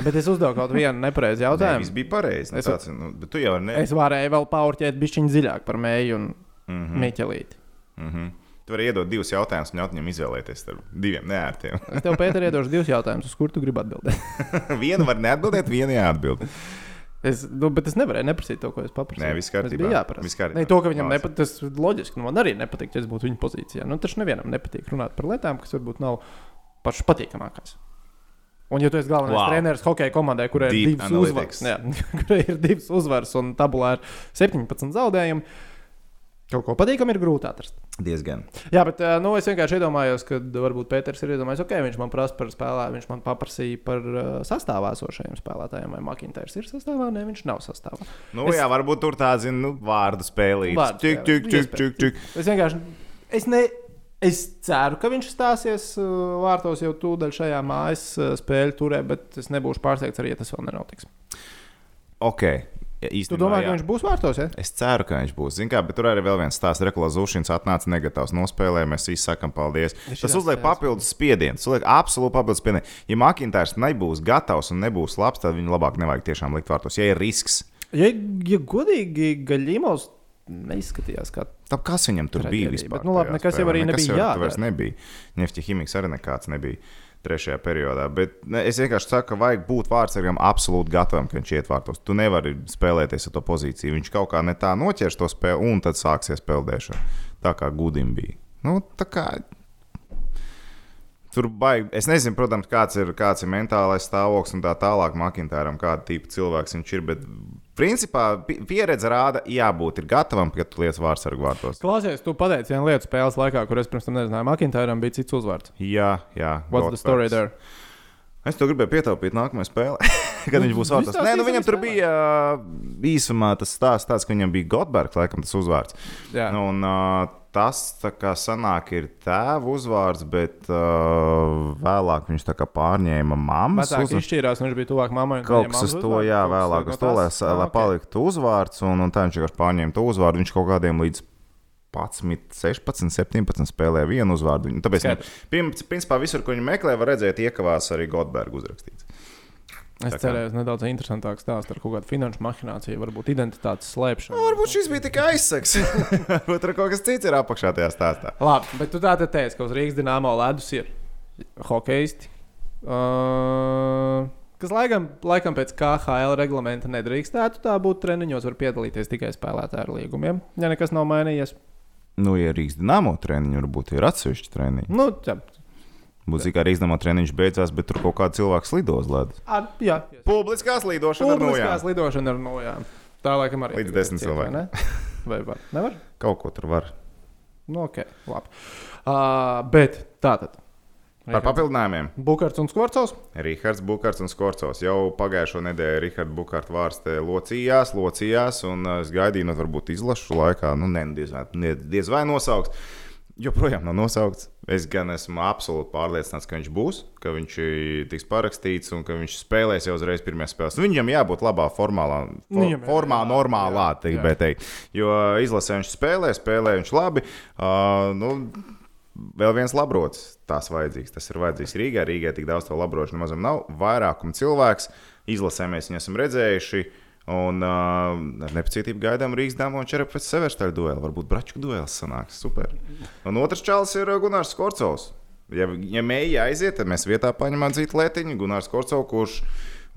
Bet es uzdevu kaut vienu nepareizu
(laughs) Nē,
jautājumu.
viss bija pareizi. Nu,
Es-
tāds, nu, bet tu jau ne.
Es varēju vēl paurķēt bišķiņu dziļāk par mēju un mm
Mhm.
-hmm. meķelīti.
Mm -hmm. Tu vari iedot divus jautājumus, un ļaut viņam izvēlēties starp diviem neērtiem. (laughs)
Es tev pētēju, iedošu divus jautājumus, uz kuru tu gribi atbildēt.
vienu var neatbildēt, vienu jāatbild.
Es, nu, bet es nevarēju neprasīt to, ko es paprasīju.
Nē, viss kārtībā.
Tas bija jāprasa.
Viss kārtībā.
Ne, to, ka viņam
Māc.
nepatīk, tas ir loģiski. Nu, man arī nepatīk, ja es būtu viņa pozīcijā. Nu, taču nevienam nepatīk runāt par lietām, kas varbūt nav pašas patīkamākās. Un, ja tu esi galvenais
Wow.
wow. treneris hokeja komandai, kurai ir
Deep
divas uzvaras,
analytics.
jā, (laughs) kurai ir divas uzvaras un tabulā ir 17 zaudējumi, kaut ko patīkamu ir grūti atrast.
Diezgan.
Jā, bet ā, nu, es vienkārši iedomājos, ka varbūt Pēters ir iedomājies, ok, viņš man prasa par spēlētāju, viņš man paprasīja par uh, sastāvā esošajiem spēlētājiem, vai Makintērs ir sastāvā, ne viņš nav sastāvā.
Nu,
Es-
es... jā, varbūt tur tā zina nu, vārdu spēlīte.
Vārdu
Tik, tik,
spēlē.
tik, tik, tik.
Es vienkārši, es, ne, es ceru, ka viņš stāsies uh, vārtos jau tūdaļ šajā eh, mājas uh, spēļu turē, bet es nebūšu pārsteigts arī, ja tas vēl nenotiks.
Ok. Ja,
Tu
īstenībā,
domā,
Nu jā.
ka viņš būs vārtos? Ja?
Es ceru, ka viņš būs. Zin Kā, bet tur arī vēl viens stāsts. Reklāmas Zūšins atnāca negatavs nospēlē. Mēs visi sakām paldies.
šitās
Tas uzliek
spēlēs.
papildus spiedienu. Tas uzliek absolūti papildus spiedienu. Ja Makintārs nebūs gatavs un nebūs labs, tad viņu labāk nevajag tiešām likt vārtos. Ja ir risks,
Ja, ja godīgi, Gaļīmovs neizskatījās kā
tad kas viņam tur
Traģēdija,
bija vispār?
bet, nu, labi,
tajā
nekas jau
spēlē?
arī nebija
Nekas jau tur
jādara.
vairs nebija. Nefti ķīmijas arī nekāds nebija. Trešajā periodā, bet ne, es vienkārši saku, ka vajag būt vārdsargam absolūti gatavam, ka viņš iet vārtos. Tu nevari spēlēties ar to pozīciju. Viņš kaut kā ne tā noķers to spēli, un tad sāksies peldēšana. Tā kā gudim bija. Nu, tā kā Tur baigi, es nezinu, protams, kāds ir, kāds ir mentālais stāvoklis un tā tālāk Makintāram, kāda tipa cilvēks viņš ir. Bet, principā, pi- pieredze rāda, jābūt ir gatavam, ka tu lietas vārdsargu vārtos.
Klausies, tu pateici vienu lietu spēles laikā, kur es pirms tam nezināju, Makintāram bija cits uzvārds.
Jā, jā.
What's the story
Goldbergs.
there?
Es to gribēju pietaupīt nākamajā spēlē, (laughs) kad viņš būs
Nu,
vārtos.
visās
Nē, nu
īsajās
viņam tur
spēlēs.
bija ā, īsumā tas stāsts, tāds, ka viņam bija Goldbergs, laikam, tas uzvārds.
Jā.
Un, uh, tas tā kā sanāk, ir tēva uzvārds, bet uh, vēlāk viņš tā kā pārņēma mammas
Vecāki
uzvārdu.
izšķīrās, un viņš bija tuvāk mammai. un
Kaut
viņiem
kas uz
ambas
to
uzvārdi,
jā,
kaut kas
vēlāk,
no
uz to, lai,
tās.
sa- lai
Ah, ok.
paliktu uzvārds, un, un tā viņš vienkārši pārņēma to uzvārdu. Viņš kaut kādiem līdz 11, 16, 17 spēlē vienu uzvārdu. Un Tāpēc,
Skaidrs.
pim, principā, visur, kur viņi meklē, var redzēt, iekavās arī Goldberga uzrakstīts.
Es
Tā kā-
cerēju, ka nedaudz interesantāks stāsts ar kaut kādu finanšu mahināciju, varbūt identitātes slēpšanu.
Nu, varbūt šis bija tikai aizsaks. (laughs) varbūt tur kaut kas cits ir apakšā tajā stāstā.
Labi, bet tu tā tad teici, ka uz Rīgas dīnāmā ledus ir hokeisti. Uh, kas laikam, laikam pēc KHL reglamenta nedrīkstētu tā būt. Treniņos var piedalīties tikai spēlētāju ar līgumiem. Ja nekas nav mainījies,
Nu, ja Rīgas dīnāmo treniņu, varbūt ir atsevišķi treniņi.
nu, tā,
Būs tikai Rīgas dīnāmo treniņš beidzās, bet tur kaut kāds cilvēks lidos ledus.
ar, jā,
Publiskās lidošanas
publiskās lidošana ar nojām. Tā laikam arī
Līdz desmit
tiek, vai ne?
(laughs)
Vai var? Nevar?
Kaut ko tur var.
Nu, ok, labi. Uh, bet tā tad.
Par papildinājumiem.
Bukarts un Skorcovs.
Rīgards Bukārts un Skorcovs. Jau pagājušo nedēļu Rīgards Bukārts vārstē locījās, locījās, un eh, es gaidīju, nu, varbūt izlašu laikā, nu, ne, diez vai, ne, diez vai nosauks. Joprojām nav nosaukts. Es gan esmu absolūti pārliecināts, ka viņš būs, ka viņš eh, tiks parakstīts un ka viņš spēlēs jau uzreiz pirmajā spēlē. Nu, Viņam jābūt labā formālā, for,
Nu, Viņam ir-
formā,
jā,
normālā,
jā, jā.
tā teikt. Jo izlasē viņš spēlē, spēlē viņš labi. Uh, nu, Vēl viens labrots, tas vajadzīgs. Tas ir vajadzīgs Rīgā. Rīgā tik daudz to labrotu nemaz nav. Vairākums cilvēks, izlasē mēs viņu esam redzējuši. Un uh, ar nepacietību gaidām Rīgas dāmas un Čerpa Severstaļa dueli. Varbūt Bračku duels sanāks super. Un otrs čels ir uh, Gunārs Korcovs. Ja, ja mēģi aiziet, tad mēs vietā paņemam dzītu lētiņu. Gunārs Korcovs, kurš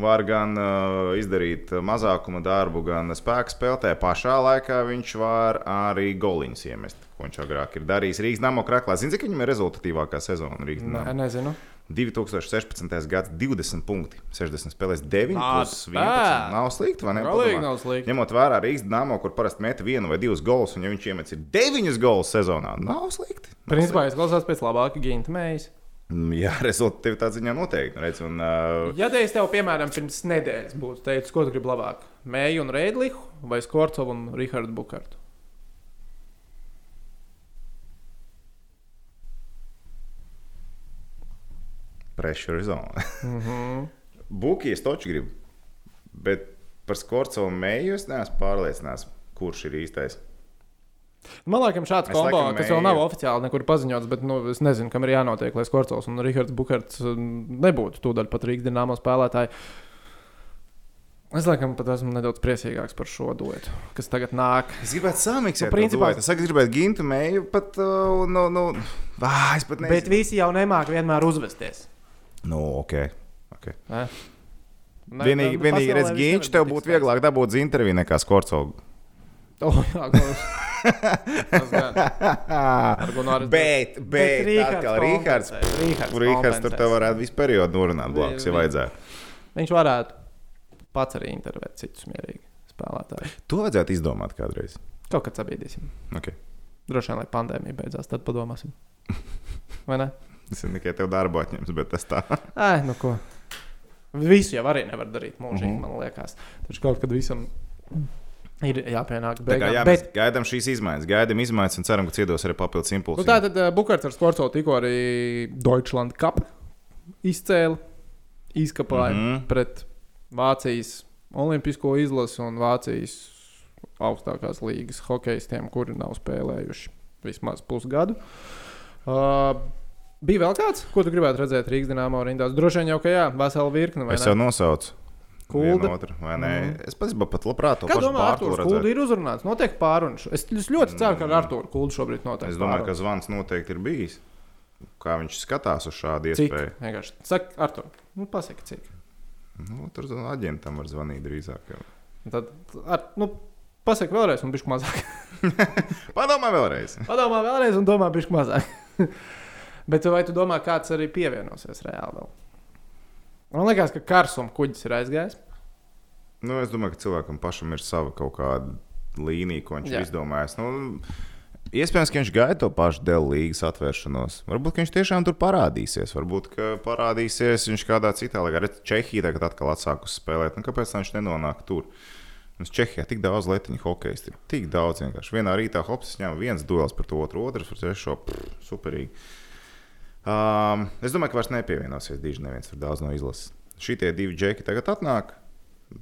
var gan uh, izdarīt mazākuma darbu, gan spēku spēlē. Pašā laikā viņš var arī goliņus iemest, ko viņš agrāk ir darījis Rīgas nama krāklā. Zini, cik viņam ir rezultatīvākā sezona Rīgas
Nē,
nama?
nezinu.
2016. gads 20 punkti, 60 spēlēs 9
Nā,
plus 11.
tā.
Nav slikti, vai ne?
Galīgi
Padomā.
nav slikti.
Ņemot vērā Rīgas nama, kur parasti met vienu vai divus golus, un ja viņš iemet 9 golus sezonā, nav slikti. Nav
Principā izklausās pēc labāka gimta mējas.
slikti. Jā, rezultātā ziņā noteikti. Redz, un, uh,
Ja te es tev, piemēram, pirms nedēļas būtu teicis, ko tu gribi labāk, Mēju un Reidlihu vai Skorcovu un Rihardu Bukartu?
pressure zone.
Mm -hmm.
Buki es toču gribu, bet par Skorcovu mēju es neesmu pārliecināts, kurš ir īstais.
Man liekas, šāds
Es
kombo,
laikam
kas vēl nav
Mēju.
oficiāli nekur paziņots, bet nu, es nezinu, kam ir jānotiek, lai Skorcovs un Rihards Bukarts mm, nebūtu tūdaļ pat Rīgas dīnāmo spēlētāji. Es laikam pat esmu nedaudz priecīgāks par šo duetu, kas tagad nāk.
Es gribētu samiksēt,
Nu,
nu,
principā-
principā. Es saka, gribētu gintu mēju, pat, uh, nu, nu, vā, es pat
Bet
nezinu.
visi jau nemāķi vienmēr uzvesties.
Bet... Nu, ok. okay.
Ne? Ne,
Vienīgi,
ne, Nu,
vienīgi
pasaulē
redz,
viss
Ginčs,
nevar
tev
būt
būtu
tik
vieglāk dabūt interviju nekā Skorcovu.
Oh, jā, klaus. Tas gan.
(laughs)
Ar Gunāru.
Ah, Bet, bet, atkal Rīgards.
Rīgards,
Rīgards tur tev varētu visu periodu norunāt blakus, ja
Vi- vi-
vajadzētu.
Viņš varētu pats arī intervēt citus mierīgi spēlētājus.
To vajadzētu izdomāt kādreiz.
Kaut kad sabiedrīsim.
Okay.
Droši vien, lai pandēmija beidzās, tad
(laughs)
padomāsim. Vai ne?
Es nezinu, kā tev darbu atņems, bet tas tā.
Ai, nu ko. Visu jau arī nevar darīt mūžīgi, mm
Mhm.
-hmm. man liekas. Taču kaut kad visam ir jāpienāk
Tā kā,
beigām. Bet
jā, bet... Mēs gaidām šīs izmaiņas, gaidām izmaiņas un ceram, ka ciedos arī papildus
Nu,
impulsus.
tā tad uh, Bukārts ar Sportso tikko arī Deutschland Cup izcēla, izkapāja mm
Mhm.
-hmm. pret Vācijas Olimpisko izlasu un Vācijas augstākās līnijas hokeistiem, kuri nav spēlējuši vismaz pusgadu. Uh, bija vēl kāds, ko tu gribētu redzēt Rīgas dīnāmā rindās? Droši vien jau, ka jā, vesela virkne. vai
Es
ne?
jau nosaucu.
Kulda.
Vienu Otru, vai ne? Mm. Es pats pat labprāt to
Kā
pašu
domā,
Bārtu
Arthurs
redzētu.
Kulda ir uzrunāts? Notiek pārunas. Es, es ļoti ceru, ka ar Arthuru Kuldu šobrīd notiek.
Es domāju, ka zvans noteikti ir bijis. Kā viņš skatās uz šādu
cik
iespēju?
vienkārši. Saka, Artur, nu, pasaki, cik.
Nu, tur zvan- aģentam var zvanīt drīzāk. Jau.
Un Tad, ar, nu, pasaki vēlreiz, un bišķi mazāk.
Padomā vēlreiz.
Padomā vēlreiz, un domā bišķi mazāk. (laughs) Bet vai tu domā, kāds arī pievienosies reāli? Vēl? Man liekas, ka karsuma kuģis ir aizgājis.
Nu, es domāju, ka cilvēkam pašam ir sava kaut kāda līnija, ko viņš
Jā.
ir izdomājis. Nu, iespējams, ka viņš gaida to pašu dēļ līgas atvēršanos. Varbūt ka viņš tiešām tur parādīsies. Varbūt ka parādīsies viņš kādā citā līnijā. Arī Čehija tagad atkal atsākus spēlēt. Nu, kāpēc lai viņš nenonāk tur? Mums Čehijā tik daudz letiņu hokeja. Ir tik daudz vienkārši. Vienā rītā hops ņem viens duels par to otru, otrs par trešo. Pff, superīgi. Um, es domāju, ka vairs nepievienosies Dīžs. Neviens tur daudz no izlases. Šitie divi džeki tagad atnāk,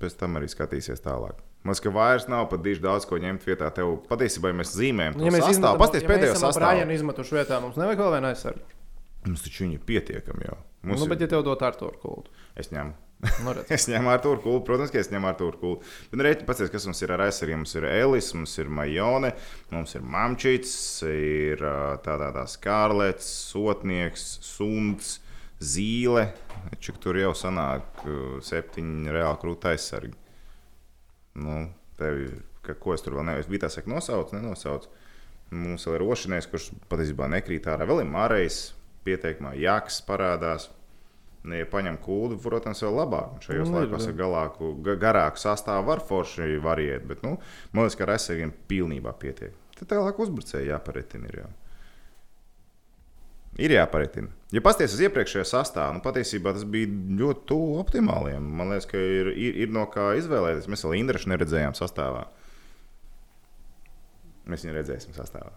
pēc tam arī skatīsies tālāk. Man liekas, ka vairs nav pat Dīžs daudz ko ņemt vietā. Tev patiesībā ja mēs zīmējam,
Nu, Ja mēs
kas
izmetam-
Nu, sastāv. Pastāstiet
ja mēs
pēdējo
esam
sastāvu.
Brajanu izmetuši vietā, mums nevajag vēl vienu aizsardzību.
Mums taču viņi ir pietiekami jau. Mums
Nu, bet,
ir...
ja tev dot Artur Kuldu,
Es ņemu.
nu,
(laughs)
redz.
Es ņemu ar to kūlu, protams, ka es ņemu ar to kūlu. Bet reiķi paskatās, kas mums ir ar aizsargiem. Mums ir Elis, mums ir Majone, mums ir Mamčits, ir ā, tādā tā skārlets, sotnieks, suns, zīle. Čik tur jau sanāk ā, septiņi reāli krūta aizsargi. Nu, tevi, ka, ko es tur vēl neesmu? Bija tā saka, nosauc, nenosauc. Mums vēl ir rošinieks, kurš patiesībā nekrīt ārā. Vēl ir Mārējs, pieteikumā Jāks parādās. Nu, Ja paņem kūdu, protams, vēl labāk. Un Šajos
Nu, ir,
laikos
jā.
ar galāku, ga- garāku sastāvu var forši var iet, bet nu, man liekas, ka ar aizsargiem pilnībā pietiek. Tad tālāk uzbrucēji jāparetina. Ir, jau. ir jāparetina. Ja paskatās uz iepriekšējo sastāvu, nu, patiesībā tas bija ļoti tuvu optimāliem. Man liekas, ka ir, ir, ir no kā izvēlēties. Mēs vēl Indrašu neredzējām sastāvā. Mēs viņu redzēsim sastāvā.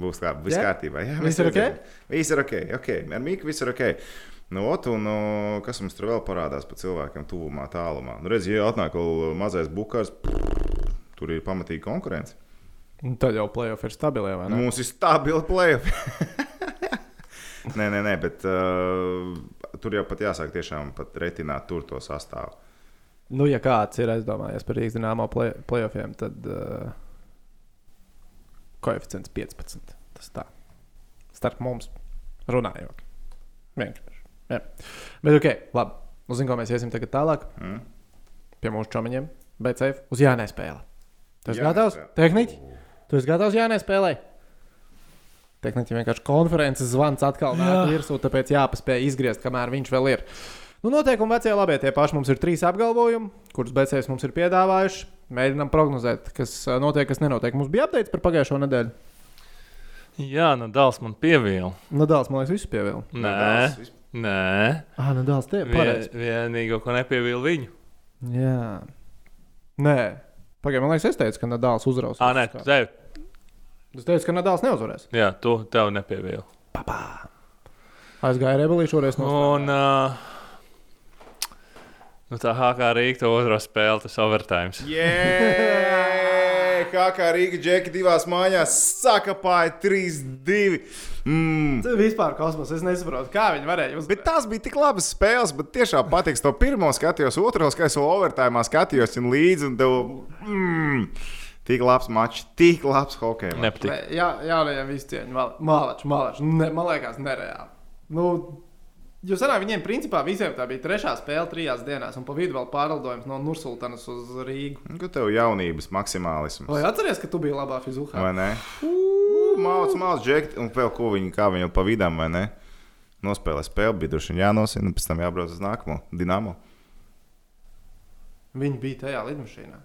Būs labi, viss
Jā?
kārtībā. Jā, mēs
Viss ir ok?
redzēsim. Viss ir ok, ok. Ar Miku viss ir ok. Nu, ot, un, o, kas mums tur vēl parādās par cilvēkiem, tuvumā, tālumā? Nu, redziet, ja atnāk vēl mazais bukars, tur ir pamatīga konkurence.
Un Tad jau playoff ir stabilē, vai ne?
Mums ir stabili plēsoņi. (laughs) nē, nē, nē, bet uh, tur jau pat jāsāk tiešām pat retināt tur to sastāvu.
Nu, ja kāds ir aizdomājies par Rīgas dīnāmo play- playoffiem, tad uh, koeficients 15. Tas tā. Starp mums runājot. Vienkārši. Jā. Bet, ok, labi. Nu, Zinu, ko mēs iesim tagad tālāk
Mm?
pie mūsu čomiņiem. Bet, ceļ, uz Jānē spēlē. Tu esi
Jānai
gatavs?
spēle.
Tehniķi? Tu esi gatavs Jānē spēlē? Tehniķi vienkārši konferences zvans atkal nāk virsū, tāpēc jāpaspēj izgriezt, kamēr viņš vēl ir. Nu, noteikumi vecie labie tie paši. Mums ir trīs apgalvojumi, kurus BCS mums ir piedāvājuši. Mēģinām prognozēt, kas ā, notiek, kas nenotiek. Mums bija apgādājums par pagājušo nedēļu.
Jā, nu dēls man pievilka.
Nadals, man liekas, visu pievilka.
Nē, nē.
Ah, Nadals, tie ir
Vien,
pareizi.
vienīgo, ko nepievilka viņu.
Jā. Nē, pagaidi, man liekas, es teicu, ka Nadals uzrausīs.
Ah, nē,
Kā-
tev.
Es teicu, ka Nadals neuzvarēs.
Jā, tu tev nepievilka.
Aizgāja rebelīšu šoreiz.
Un uh, nu tā kā Rīgas otrā spēle, tas overtime.
Jē! Kā kā Rīga džeki divās mājās sakapāja 3-2. Mm.
Tas ir Nu, vispār kosmos. Es nesaprotu, kā viņi varēja. Uz...
Bet tās bija tik labas spēles, bet tiešām patīk. To pirmo skatījos, otru skatījos, vēl overtājumā skatījos un līdzi. Un tev, mm, tik labs mačs, tik labs hockey.
Nepatīk.
Nē, Jā, jaunajiem izcieņiem. Malačs, malačs. Ne, man liekas, nereāli. Nu, Jo senā viņiem, principā, visiem tā bija trešā spēle trijās dienās, un pa vidu vēl pārlidojums no Nursultanas uz Rīgu.
Nu, tev jaunības maksimālisms.
Vai atceries, ka tu biji labā fizūkā?
Vai ne? Mācis, mācis, džekti, un vēl ko viņi, kā viņi jau pa vidām, vai ne? Nospēlē spēli, bija droši vien jānosina, un pēc tam jābrauc uz nākamo dināmu.
Viņi bija tajā lidmašīnā.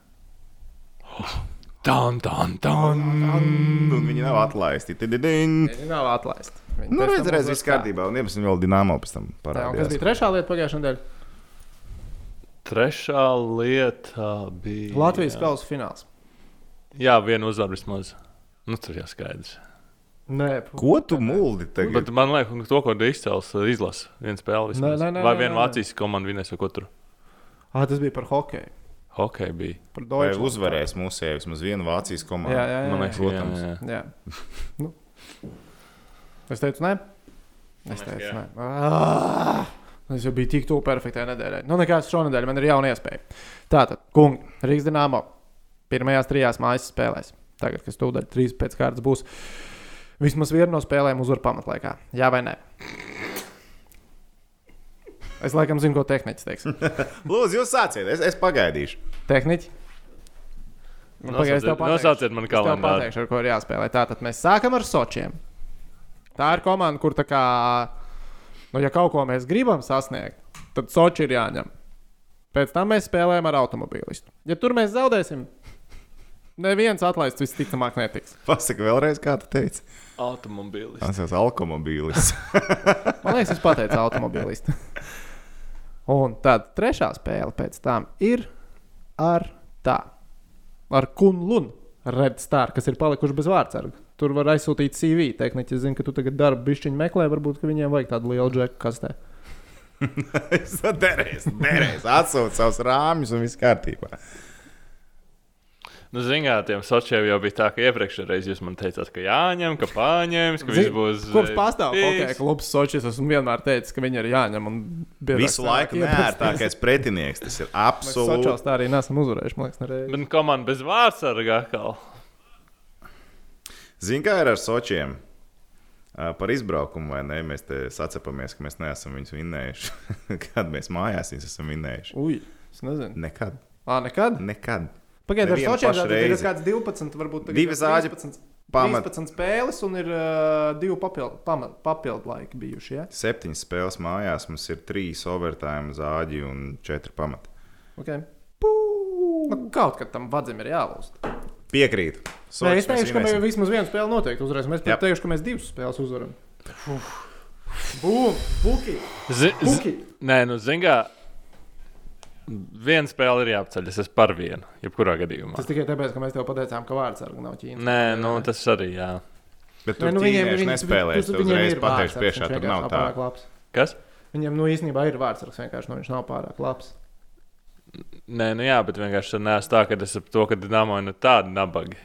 Tam, tam, tam.
Un viņi nav atlaisti. Tididin.
Viņi nav atlaisti. Viņi
Nu,
pēc tam
redz, redz,
uzvar
viss kārtībā, un iepazīstināsim vēl dināmu pēc tam
kā. Jā, un kas
parādījās.
bija trešā lieta pagājušajā nedēļā?
Trešā lieta bija.
Latvijas kausa fināls.
Jā, viena uzvara vismaz. Nu, tur jau skaidrs.
Nē,
Ko tu
Nu,
muldi
Bet
tagad?
man liekas, ka to, ko tu izcēlis, izlasi viens spēle.
Nē, nē, nē,
Vai
nē,
viena
nē.
Vācijas komanda vienais vai otru?
à, tas bija par hokeju.
Hockey bija.
Par
Vai
Deutschlandu.
uzvarēs mūsu sevi vismaz vienu Vācijas komandu?
Jā, jā, jā.
Man liekas,
Protams.
jā, jā.
Jā. Nu. Es teicu, nē. Es
Mēs
teicu,
jā.
nē. Ah! Es jau biju tik tuvu perfektai nedēļai. Nu, nekāds šonadēļ man ir jauna iespēja. Tātad, kungi, Rīgas dīnāmo pirmajās trijās mājas spēlēs. Tagad, kas tūdaļ trīs pēc kārtas būs, vismaz viena no spēlēm uzvar pamatlaikā. Jā vai nē? Es laikam zinu, ko tehnicis teiks.
Lūdzu, jūs sāciet, es, es pagaidīšu.
Tehniķi. Nu, pagaidi, es tev
Nosauciet-
pateikšu.
Nosauciet man
Es tev
kalendāru.
pateikšu, ar ko ir jāspēlē. Tātad mēs sākam ar Sočiem. Tā ir komanda, kur tā kā, nu, ja kaut ko mēs gribam sasniegt, tad Soči ir jāņem. Pēc tam mēs spēlējam ar automobilistu. Ja tur mēs zaudēsim, neviens atlaists visticamāk netiks.
Pasaka vēlreiz, kā tu teici.
Automobilis.
Tas ir alkomobīlis. (laughs)
Man liekas, es pateicu automobilistu. Un tad trešā spēle pēc tam ir ar tā. Ar Kunlunu Red Star, kas ir palikuši bez vārdsarga. Tur var aizsūtīt CV. Tehniķis zina, ka tu tagad darbu bišķiņu meklē, varbūt ka viņiem vajag tādu lielu džeku kastē.
Es to derēs, derēs. Atsūtu savus rāmjus un viss kārtībā.
Nu, Ziniet, tiem sočiem jau bija tā, ka iepriekšējā reizē jūs man teicāt, ka jāņem, ka pārņems, ka viss
Zini,
būs.
Kopš
eh,
pastāv
fiks.
hokeja klubs Sočis, esmu vienmēr teicis, ka viņi ir jāņem un biežāk
Visu laiku
cilvēki iepazīs.
nērtākais pretinieks. Tas ir
Mēs
absolūti.
Sočos tā arī nesam uzvarējuši, man liekas, nereiz.
Bet nu, komanda bez vārdsarga atkal.
Zini, kā ir ar Sočiem? Ā, Par izbraukumu vai nē, mēs te sacepamies, ka mēs neesam viņus vinnējuši. (laughs) Kad mēs mājās viņus esam vinnējuši?
Ui, es nezinu.
Nekad.
Ā, nekad?
Nekad.
Pagaidiet, ar
Nevienu
Sočiem
pašu
tātad ir
reizi.
kāds 12, varbūt tagad
Divas
ir
āģe
13,
pamat-
13 spēles un ir uh, divi papildu, pamat, papildu laiki bijuši. Ja?
Septiņas spēles mājās mums ir trīs overtime zāģi un četri pamati.
Okay. Pū! Nu, kaut kad tam vadzim ir jālūst.
Piekrītu.
Nē,
Sočus
es teikšu, ka
mēs
mēs
iesim.
vismaz vienu spēli noteikti uzvarēsim. Es
Jā.
pat teikšu, ka mēs divas spēles uzvaram. Bum! Buki!
Zi- zi-
Buki!
Nē, nu, zināmā mērā, viena spēle ir jāapceļ. Es esmu par vienu, jebkurā gadījumā.
Tas tikai tāpēc, ka mēs tev pateicām, ka vārds arī nav Ķīna.
Nē, nu, tas arī jā.
Bet
Nē,
tur nu,
viņiem-
viņi
viņi-
nespēlēs.
tur-
Tur
viņiem
uzreiz
ir
pateikšu,
vārdsargs,
priekšā
viņš
tur
vienkārši
nav tā.
pārāk labs.
Kas?
Viņam, nu, īstenībā ir vārds, vienkārši nu, viņš nav pārāk labs.
Nē, nu jā, bet vienkārši nē, es tā, ka es ap to, ka Dienāmo ir nu tādi nabagi.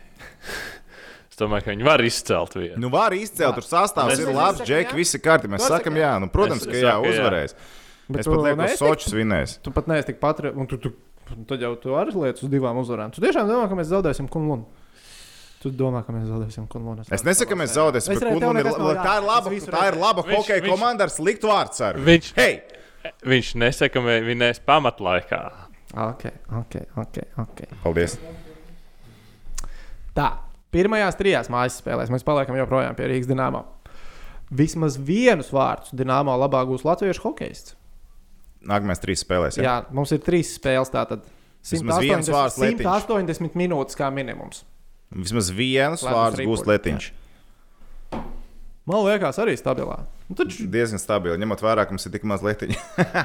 es domāju, ka viņi var izcelt vienu.
Nu, var izcelt, tur sastāvs
Mēs-
ir
Mēs
labs,
sakam, jā?
Džek, visi kārtībā. Mēs
Tu arī
sakām,
saki,
jā, nu, protams,
Es-
ka
es
jā,
saku, jā.
uzvarēs.
Bet
Es
tu
pat lieku, ka
neesi
Sočus vinnēs.
Tu pat neesi tik patriotā, un tu, tu, tu jau tu arī lietas uz divām uzvarām. Tu tiešām domā, ka mēs zaudēsim Kunlunu. Tu domā, ka mēs zaudēsim Kunlunu.
Es nesaku, ka mēs zaudēsim,
Es
bet
redzu, tev
Kunam ir
nekas nav
la- tā ir
jāsaka,
laba,
es visu
tā ir
redzu.
laba
Viņš-
hokeja
viņš-
komanda ar sliktu vārdsargu.
Viņš-
Hei!
Viņš nesaka, ka vinēs pamatlaikā.
Ok, ok, ok. okay.
Paldies!
Tā, pirmajās trijās mājas spēlēs mēs paliekam joprojām pie Rīgas Dienāmā. Vismaz vienus vārdus Dienāmā labāk būs latviešu hokeists.
Nākamais trīs spēlēs.
Jā,
jā?
jā mums ir trīs spēles. Tātad
Vismaz viens
180
vārds letiņš.
180 minūtes kā minimums.
Vismaz viens
Lēnums
vārds būs
ripoļ,
letiņš.
Man liekas, arī stabilā. Nu, taču,
Diezgan stabili, ņemot vērā, ka mums ir tik maz letiņu.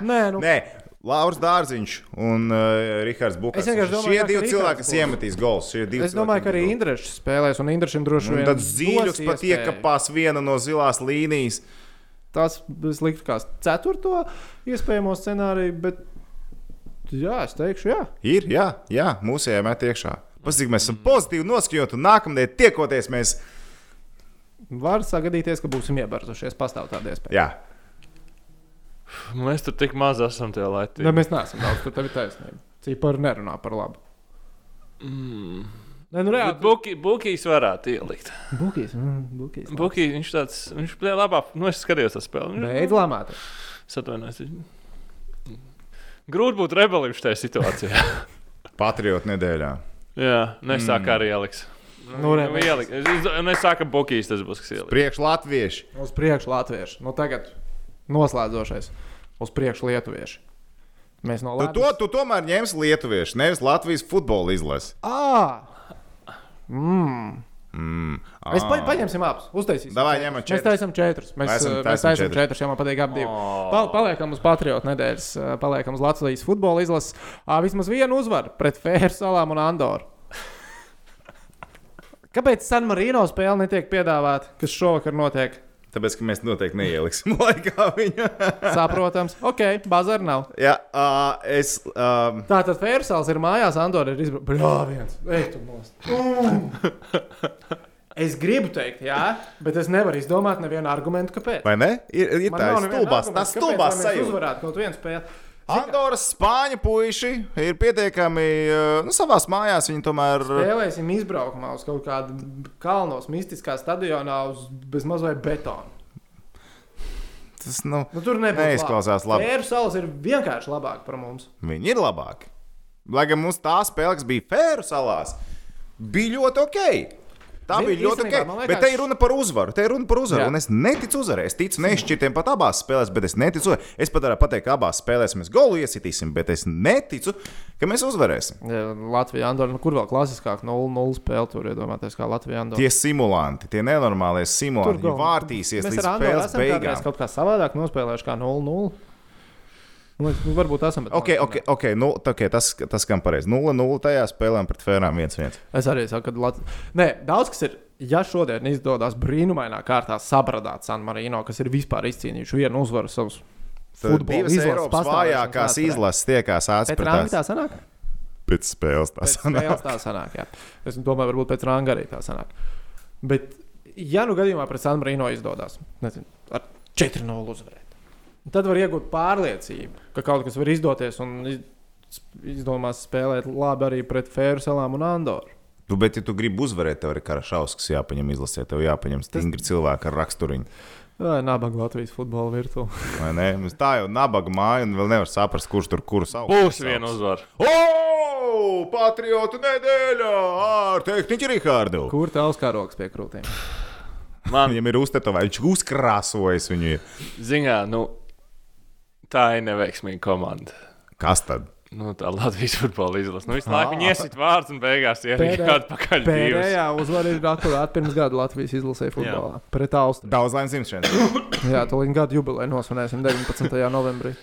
nē, nu,
Nē, Lauris Dārziņš un uh, Rihards
Es
Bukas.
vienkārši domāju,
šie
ka
divi
Rihards
cilvēki, kas
būs.
iemetīs gols. šie divi
Es domāju,
cilvēki
ka arī
iemetīs
Indrišs spēlēs, un Indrišs droši
gols. Nu, Un
vien
Tad zīļus
dos
pat
iespēju.
iekapās viena no zilās līnijas.
Tas liktu kā ceturto iespējamo scenāriju, bet jā, es teikšu, jā.
Ir, jā, jā mūsējā met iekšā. Pasaka, mēs esam pozitīvi noskaņot, un nākamnedēļ tiekoties mēs.
Var sagadīties, ka būsim iebarzušies. Pastāv tāda iespēja.
Jā,
Mēs tur tik maz esam tie latvieši.
Ne, mēs neesam daudz, tur tev ir taisnība. Cipari nerunā par labu. Mm. Nē, nu
Bet
reāli.
Buki- Bukijs varētu ielikt.
Bukīs, mm, bukīs.
Bukijs viņš tāds, viņš bija labā. Nu, es skatījos to spēli. Viņš,
Beidz lamāt.
es atvainojos. viņš- Grūti būt rebelim šajā situācijā.
(laughs)
patriotu nedēļā.
Jā, nesāka mm. arī ieliks.
Nu, re,
Nu, ielikt. Es- es- Nesāka Bukijs tas būs, kas ieliks.
Priekš Latvieši.
Uz priekšu latvieši. Nu, tagad noslēdzošais. Uz priekšu lietuvieši. Mēs no
Tu, to, tu tomēr ņemsi lietuviešu, nevis Latvijas futbola izlasi.
Ah! Mm.
Mm.
Mēs pa, paņemsim abus. Uztaisīsim.
Davai,
četrus.
ņemam
mēs
četrus.
taisām četrus. Mēs
Taisam-
taisām, mēs
taisam
taisām
četrus.
četrus, ja man patīk abi divi.
Oh.
Pal, paliekam uz Patriotu nedēļas, eh, paliekam uz Latvijas futbola izlases. Ā, Vismaz vienu uzvaru pret Fēru salām un Andoru. (laughs) Kāpēc San Marino spēle netiek piedāvāta, kas šovakar notiek?
Tāpēc, ka mēs noteikti neieliksim (laughs) laikā viņu.
Saprotams, ok, bazar nav.
Jā, uh, es. Um,
Tā tad Fērsāls ir mājās, Andorra ir izbraucis. Jā, viens. Ej, tu (laughs) nost. Mm. Es gribu teikt, jā, bet es nevaru izdomāt nevienu argumentu, kāpēc.
vai ne? Ir, ir tā, ir stulbās, tas stulbās
sajūta.
sajūta.
Uzvarēt kaut vienu spēli.
Andoras spāņu puiši ir pietiekami uh, nu, savā mājās. Viņi tomēr.
Spēlēsim izbraukumā uz kaut kādu kalnos, mistiskā stadionā uz bezmazliet betonu.
Tas, nu,
Nu, tur nebūs.
Neizklausās labi.
Fērsāls ir vienkārši labāk par mums.
Viņi ir labāki. Lai gan mums tā spēle, kas bija Fēru salās, bija ļoti ok. Tā
Zini,
bija ļoti ok.
īstenībā, man liekas-
Bet te ir runa par uzvaru. Te ir runa par uzvaru.
Jā.
Un es neticu uzvarai. Es ticu nešķirtiem pat abās spēlēs, bet es neticu. uzvarai. Es pat varu pateikt, ka abās spēlēs mēs golu iesitīsim, bet es neticu, ka mēs uzvarēsim.
Latvija, Andorra, nu, kur vēl klasiskāk 0-0 spēle, tur iedomāties, kā Latvija, Andorra.
Tie simulanti, tie nenormālie simulanti, viņi vārtīsies
Mēs
līdz
ar Andoru
spēles
esam kādreiz
beigām.
kaut kā savādāk nospēlējuši kā 0-0. Man liekas, nu, varbūt esam. bet
Ok,
man-
ok, ok, nu, tā, okay tas, tas skan pareizi. 0-0 tajā spēlēm pret Fērām 1-1.
Es arī saku, ka Lat... Nē, daudz kas ir. Ja šodien izdodas brīnumainā kārtā sabradāt San Marino, kas ir vispār izcīnījuši vienu uzvaru savus
Tad
futbola
divas
izlases
Eiropas
pastāvēšanas
vājākās
vēsturē.
izlases tiekās
Pēc rāmja
atspērtās.
tā sanāk?
Pēc spēles (laughs) tā
Pēc spēles tā sanāk, jā. Es domāju, varbūt pēc rāmja arī tā sanāk. Bet, ja nu gadījumā pret San Marino izdodas nezinu, ar 4-0 uzvarēt, tad var iegūt pārliecību, ka kaut kas var izdoties un iz- izdomās spēlēt labi arī pret Fēru salām un Andoru.
Tu, Nu, bet, ja tu gribi uzvarēt, tev ir karašauskas jāpaņem izlasē, tev jāpaņem stingri cilvēki ar raksturiņu.
Vai nabaga Latvijas futbola virtuvē? (laughs)
vai ne? Mums Tā jau ir nabaga māja, un vēl nevar saprast, kurš tur kuru savu.
Būs viena uzvara.
O, patriotu nedēļa ar tehniķu Rihārdu.
Kur tavs karoks pie
(laughs)
krūtīm?
Man
Viņam ir uztetovā, viņš uzkrāsojas viņu. ir.
ziņā, nu, tā ir neveiksmīga komanda.
Kas tad?
Nu, tā Latvijas futbola izlase. Nu, visu laiku viņi iesit vārds un beigās ierīkot
Pēdē-
kādu pakaļ divus.
Pēdējā uzvara ir akurāt pirms gada Latvijas izlasē futbolā. Pret Austriju.
Daudz laimes jums (coughs) šodien.
Jā, to viņa gada jubileju nosvinēsim 19. novembrī.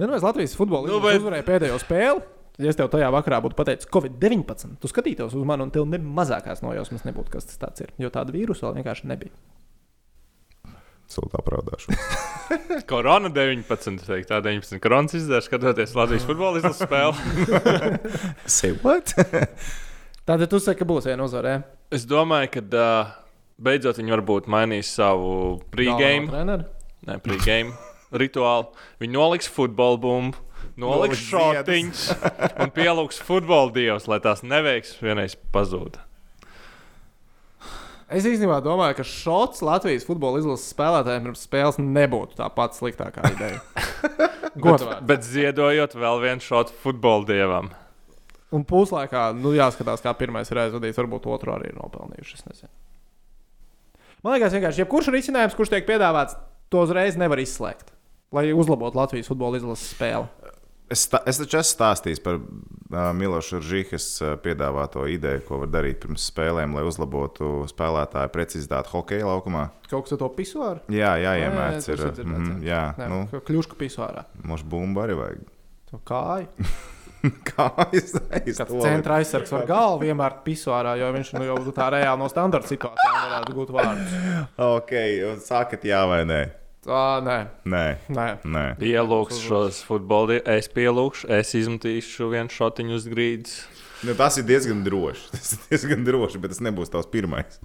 Vienmēr Latvijas futbola
Nu,
nu,
bet-
bet... uzvarēja pēdējo spēli. Ja es tev tajā vakarā būtu pateicis, Covid-19, tu skatītos uz mani, un tev ne mazākās nojausmas nebūtu, kas tas tāds ir. Jo tāda vīrusu vēl vienkārši nebija.
Sūtā parādāšu.
Korona 19, teikt, tā 19 koronas izdevuma, skatoties Latvijas futbola izlases spēli.
Say what?
(laughs) Tātad tu saki, ka būs viena uzvara. jā?
Es domāju, ka uh, beidzot viņi varbūt mainīs savu
Galveno
pregame,
treneri.
ne pregame rituālu. Viņi noliks futbola bumbu. Noliks
Noliks
šādiņš un pielūgs futbola dievs, lai tās neveiksmes vienreiz pazūd.
Es īstenībā domāju, ka šots Latvijas futbola izlases spēlētājiem pirms spēles nebūtu tā pati sliktākā (laughs) ideja. Godīgi.
Bet ziedojot vēl vienu šādu futbola dievam.
Un puslaikā, nu, jāskatās, kā pirmais ir aizvadījis, varbūt otru arī ir nopelnījuši. es nezinu. Man liekas, vienkārši, jebkurš risinājums, kurš tiek piedāvāts, to uzreiz nevar izslēgt. Lai uzlabotu Latvijas futbola izlases spēli.
Es, tā, es taču esmu stāstījis par uh, Miloša Žīkas uh, piedāvāto ideju, ko var darīt pirms spēlēm, lai uzlabotu spēlētāju precizitāti hokeja laukumā.
Kaut kas ar to pisuāru?
Jā, jā,
jā,
iemērts
es
ir.
esmu dzirdējis,
mhm, Jā,
Nē,
nu,
nu. kļūšu pisuārā.
mums bumba arī vajag. (laughs)
To kāju.
Kā aizsākt?
Kāds centra aizsargs var galvu vienmēr pisuārā, jo viņš nu, jau tā reāli no standarta situācijām varētu gūt vārdus.
Ok, un sākat jā vai nē?
Tā, nē,
Nē,
nē.
nē.
Pielūgs šos futbola dievus, es pielūgšu, es izmetīšu vienu šādiņu uz grīdas.
Nu, tas ir diezgan droši. (laughs) Tas ir diezgan droši, bet tas nebūs tavs pirmais.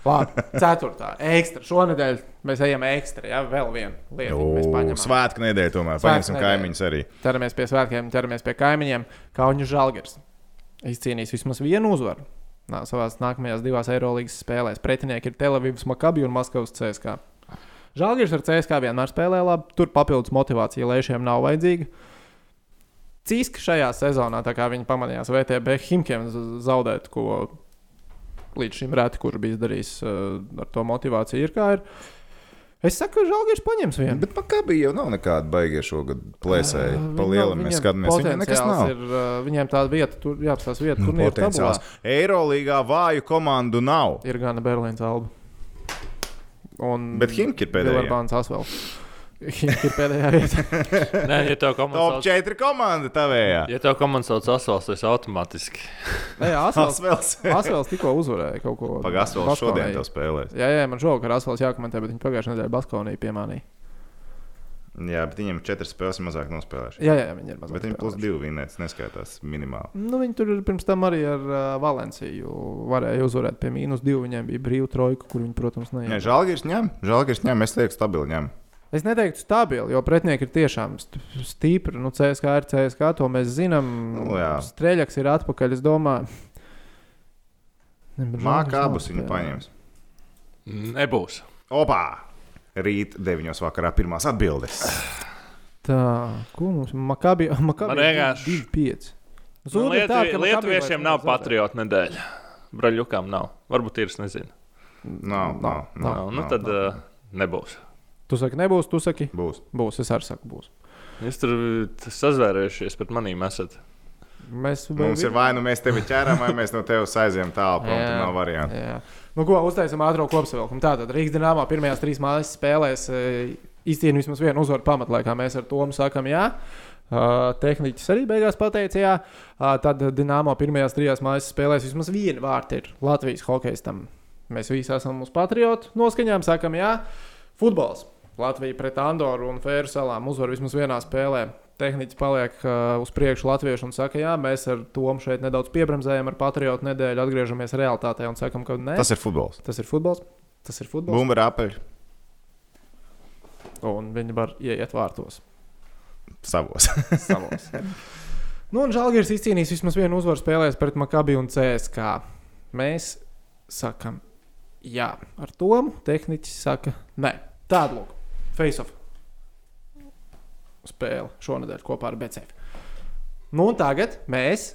Labi, ceturtā. Ekstra. Šonadēļ mēs ejam ekstra. Jā, vēl viena lieta. ko Mēs paņemam.
Svētku nedēļa tomēr.
Svētku
Paņemsim
nedēļa.
kaimiņus arī.
ķeramies pie svētkiem, ķeramies pie kaimiņiem. Kaunis Žalgers izcīnīs vismaz vienu uzvaru. Nā, savās nākamajās divās Eirolandes spēlēs pretinieki ir Telavivas Makabi un Maskavas CSK. Žalgers ar CSK vienmēr spēlē labi, tur papildus motivācija lēšiem nav vajadzīga. Cīska šajā sezonā, tā kā viņi pamanījās VTB Himkiem z- zaudēt, ko līdz šim reti kurš bija darījis eh, ar to motivāciju, ir kā ir. Es saku, ka Žalgers paņems vienu.
Bet Makabī jau nav nekāda baigta šogad plēsēji.
Viņi
Pa
nav-
lielam mēs
viņiem
skatāmies. Viņam nekas
Nu, potenciāls
nav. Nu,
Ir, uh, viņiem tāda vieta, tur jāapstāsta vieta, kur ir
Potenciāls.
potenciāls.
Eirolīgā vāju komandu nav.
Ir gana Berlīnas alba. Un
Bet Himki ir pēdējie.
Vilerbāns Asvels. Viņš ir pēdējā
(laughs)
vietā.
Nē, ja tev
Top
komandas sauc,
4 komanda tavējā.
ja tev komandas sauc asvals, tas automātiski.
Nē, Asvels,
Asvels.
Asvels tikko uzvarēja kaut ko.
Pagās vēl šodien
Baskonijai.
tev spēlēs.
Jā, jā, man žēl, ka Rasels jākomentē, bet viņi pagājušajā nedēļā Baskovnī piemānīja.
Jā, bet viņam 4 spēles mazāk nospēlējuši.
Jā, jā, viņi ir mazliet.
Bet viņi plus 2 vinnēts neskaitās minimāli.
Nu, viņi tur ir pirms tam arī ar uh, Valenciju varēja uzvarēt pie mīnus diviem. Viņiem bija brīva trojka, kur viņi, protams,
Nē,
neiet.
žēlgīrs ņem, žēlgīrs ņem, es teiktu stabili ņem.
Es neteiktu stabili, jo pretinieki ir tiešām st- stipri. Nu, CSK ir CSK, to mēs zinām.
Nu, jā.
Streļaks ir atpakaļ, es domāju. Ne, bet Žalgiris
Mākā
nav
abus
spēlē.
viņu paņems.
Nebūs.
Opā! Rīt 9. vakarā pirmās atbildes.
Tā, ko mums Makabi, (laughs) Makabi
Man
ir
vienkārši-
2-5.
Nu,
Zūd ir tā,
Lietuvi-
ka Makabi
Lietuviešiem
vairs
nav
nevar zaudēt.
patriota nedēļa. Braļukām nav. Varbūt ir, es nezinu.
Nav, nav,
Nav,
nav.
Nav, nu, tad uh, nebūs.
Tu saki, nebūs, tu saki,
būs.
būs. Es arī saku, būs.
Jūs tur t- sazvērējušies pret manīm. Esat.
Mēs
Mums ir vai nu mēs tevi ķeram, vai mēs no tevis aizjām tālu. prom,
Jā.
Tur nav variantu.
Jā. Nu, ko uztaisām ātrā kopsavilkuma? Tātad Rīgas dīnāmā pirmajās trīs mājas spēlēs e, izcīnīja vismaz vienu uzvaru pamatlaikā. Mēs ar to sakām, jā. Uh, tehniķis arī beigās pateica, jā. Uh, tad Dienāmo pirmajās trijās mājas spēlēs vismaz vienu vārtu ir Latvijas hokeistam. Mēs visi esam uz patriotu noskaņām, sakām, jā. Futbols. Latvija pret Andoru un Fēru salām uzvar vismaz vienā spēlē. Tehnicis paliek uh, uz priekšu latviešu un saka, jā, mēs ar Tomu šeit nedaudz piebremzējam ar patriotu nedēļu, atgriežamies realitātē un sakam, ka nē,
Tas ir futbols.
tas ir futbols. Tas ir futbols.
Bumba rapeļi
Bum. Un viņi var ieiet vārtos (laughs)
savos.
savos. nu, un Žalgiris izcīnīs vismaz vienu uzvaru spēlēs pret Makabi un CSK. Mēs sakam, jā, ar Tomu. Tehnicis saka, nē, tādu lūk, face off. Spēle šonadēļ kopā ar BCF. Nu, un tagad mēs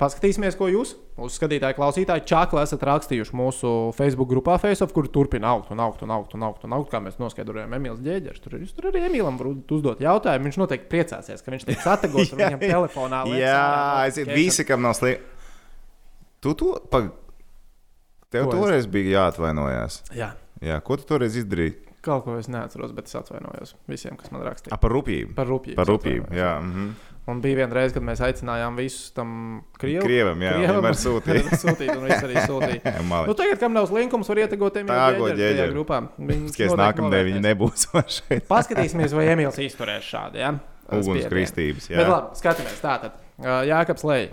paskatīsimies, ko jūs, mūsu skatītāji, klausītāji, čakli esat rakstījuši mūsu Facebook grupā, Facebook, kur turpina augt un augt un augt un augt. Un augt kā mēs noskaidrojām, Emīls Džēģers. Tur, ir- jūs tur arī Emīlam varat uzdot jautājumu. Viņš noteikti priecāsies, ka viņš tiek sategots (laughs) un viņam telefonā liek
Jā,
ārā
aiziet
notification.
visi, kam nav slikti. Tu to pag... Tev
Ko es-
toreiz bija jāatvainojās.
Jā.
Jā, ko tu toreiz izdarīji?
Kaut ko es neatceros, bet es atvainojos visiem, kas man rakstīja.
A, par rupjību.
Par rupjību.
Par rupjību.
es atvainojos.
Jā, mm -hmm.
Un bija viena reize, kad mēs aicinājām visus tam krievu.
Krievam, jā, vienmēr sūtīja.
(laughs) sūtīt, un viņš arī
(laughs)
sūtīja. Nu,
Mali.
tagad, kam nav linkums, var ietagot Emīlu
Tā,
Džēģeru
go
tajā
Džēģeru.
grupā. Viņš
Skaties,
noteikti
nākamnedēļ viņi
novērtēs.
nebūs (laughs) vairs šeit.
Paskatīsimies, vai Emīls izturēs šādi. Ja?
Uguns
Spiedienu.
kristības.
Bet
Jā,
labi, skatāmies. Tātad, ā, Jākaps Lēja,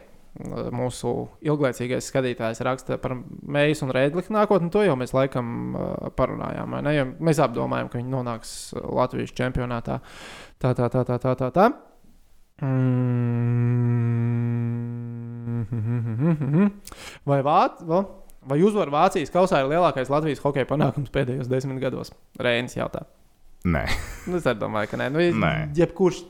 mūsu ilglaicīgais skatītājs, raksta par mējas un rēdliku nākotni. To jau mēs laikam ā, parunājām. vai Ne? Jo mēs apdomājam, ka viņi nonāks Latvijas čempionātā. Tā, tā, tā, tā, tā. tā, tā. Mm. Vai, vāc, va- vai uzvaru Vācijas kausā ir lielākais Latvijas hokeja panākums pēdējos desmit gados? Reinis jautā.
nē,
Nu, es arī domāju, ka nē. Nu,
Nē.
Jebkurš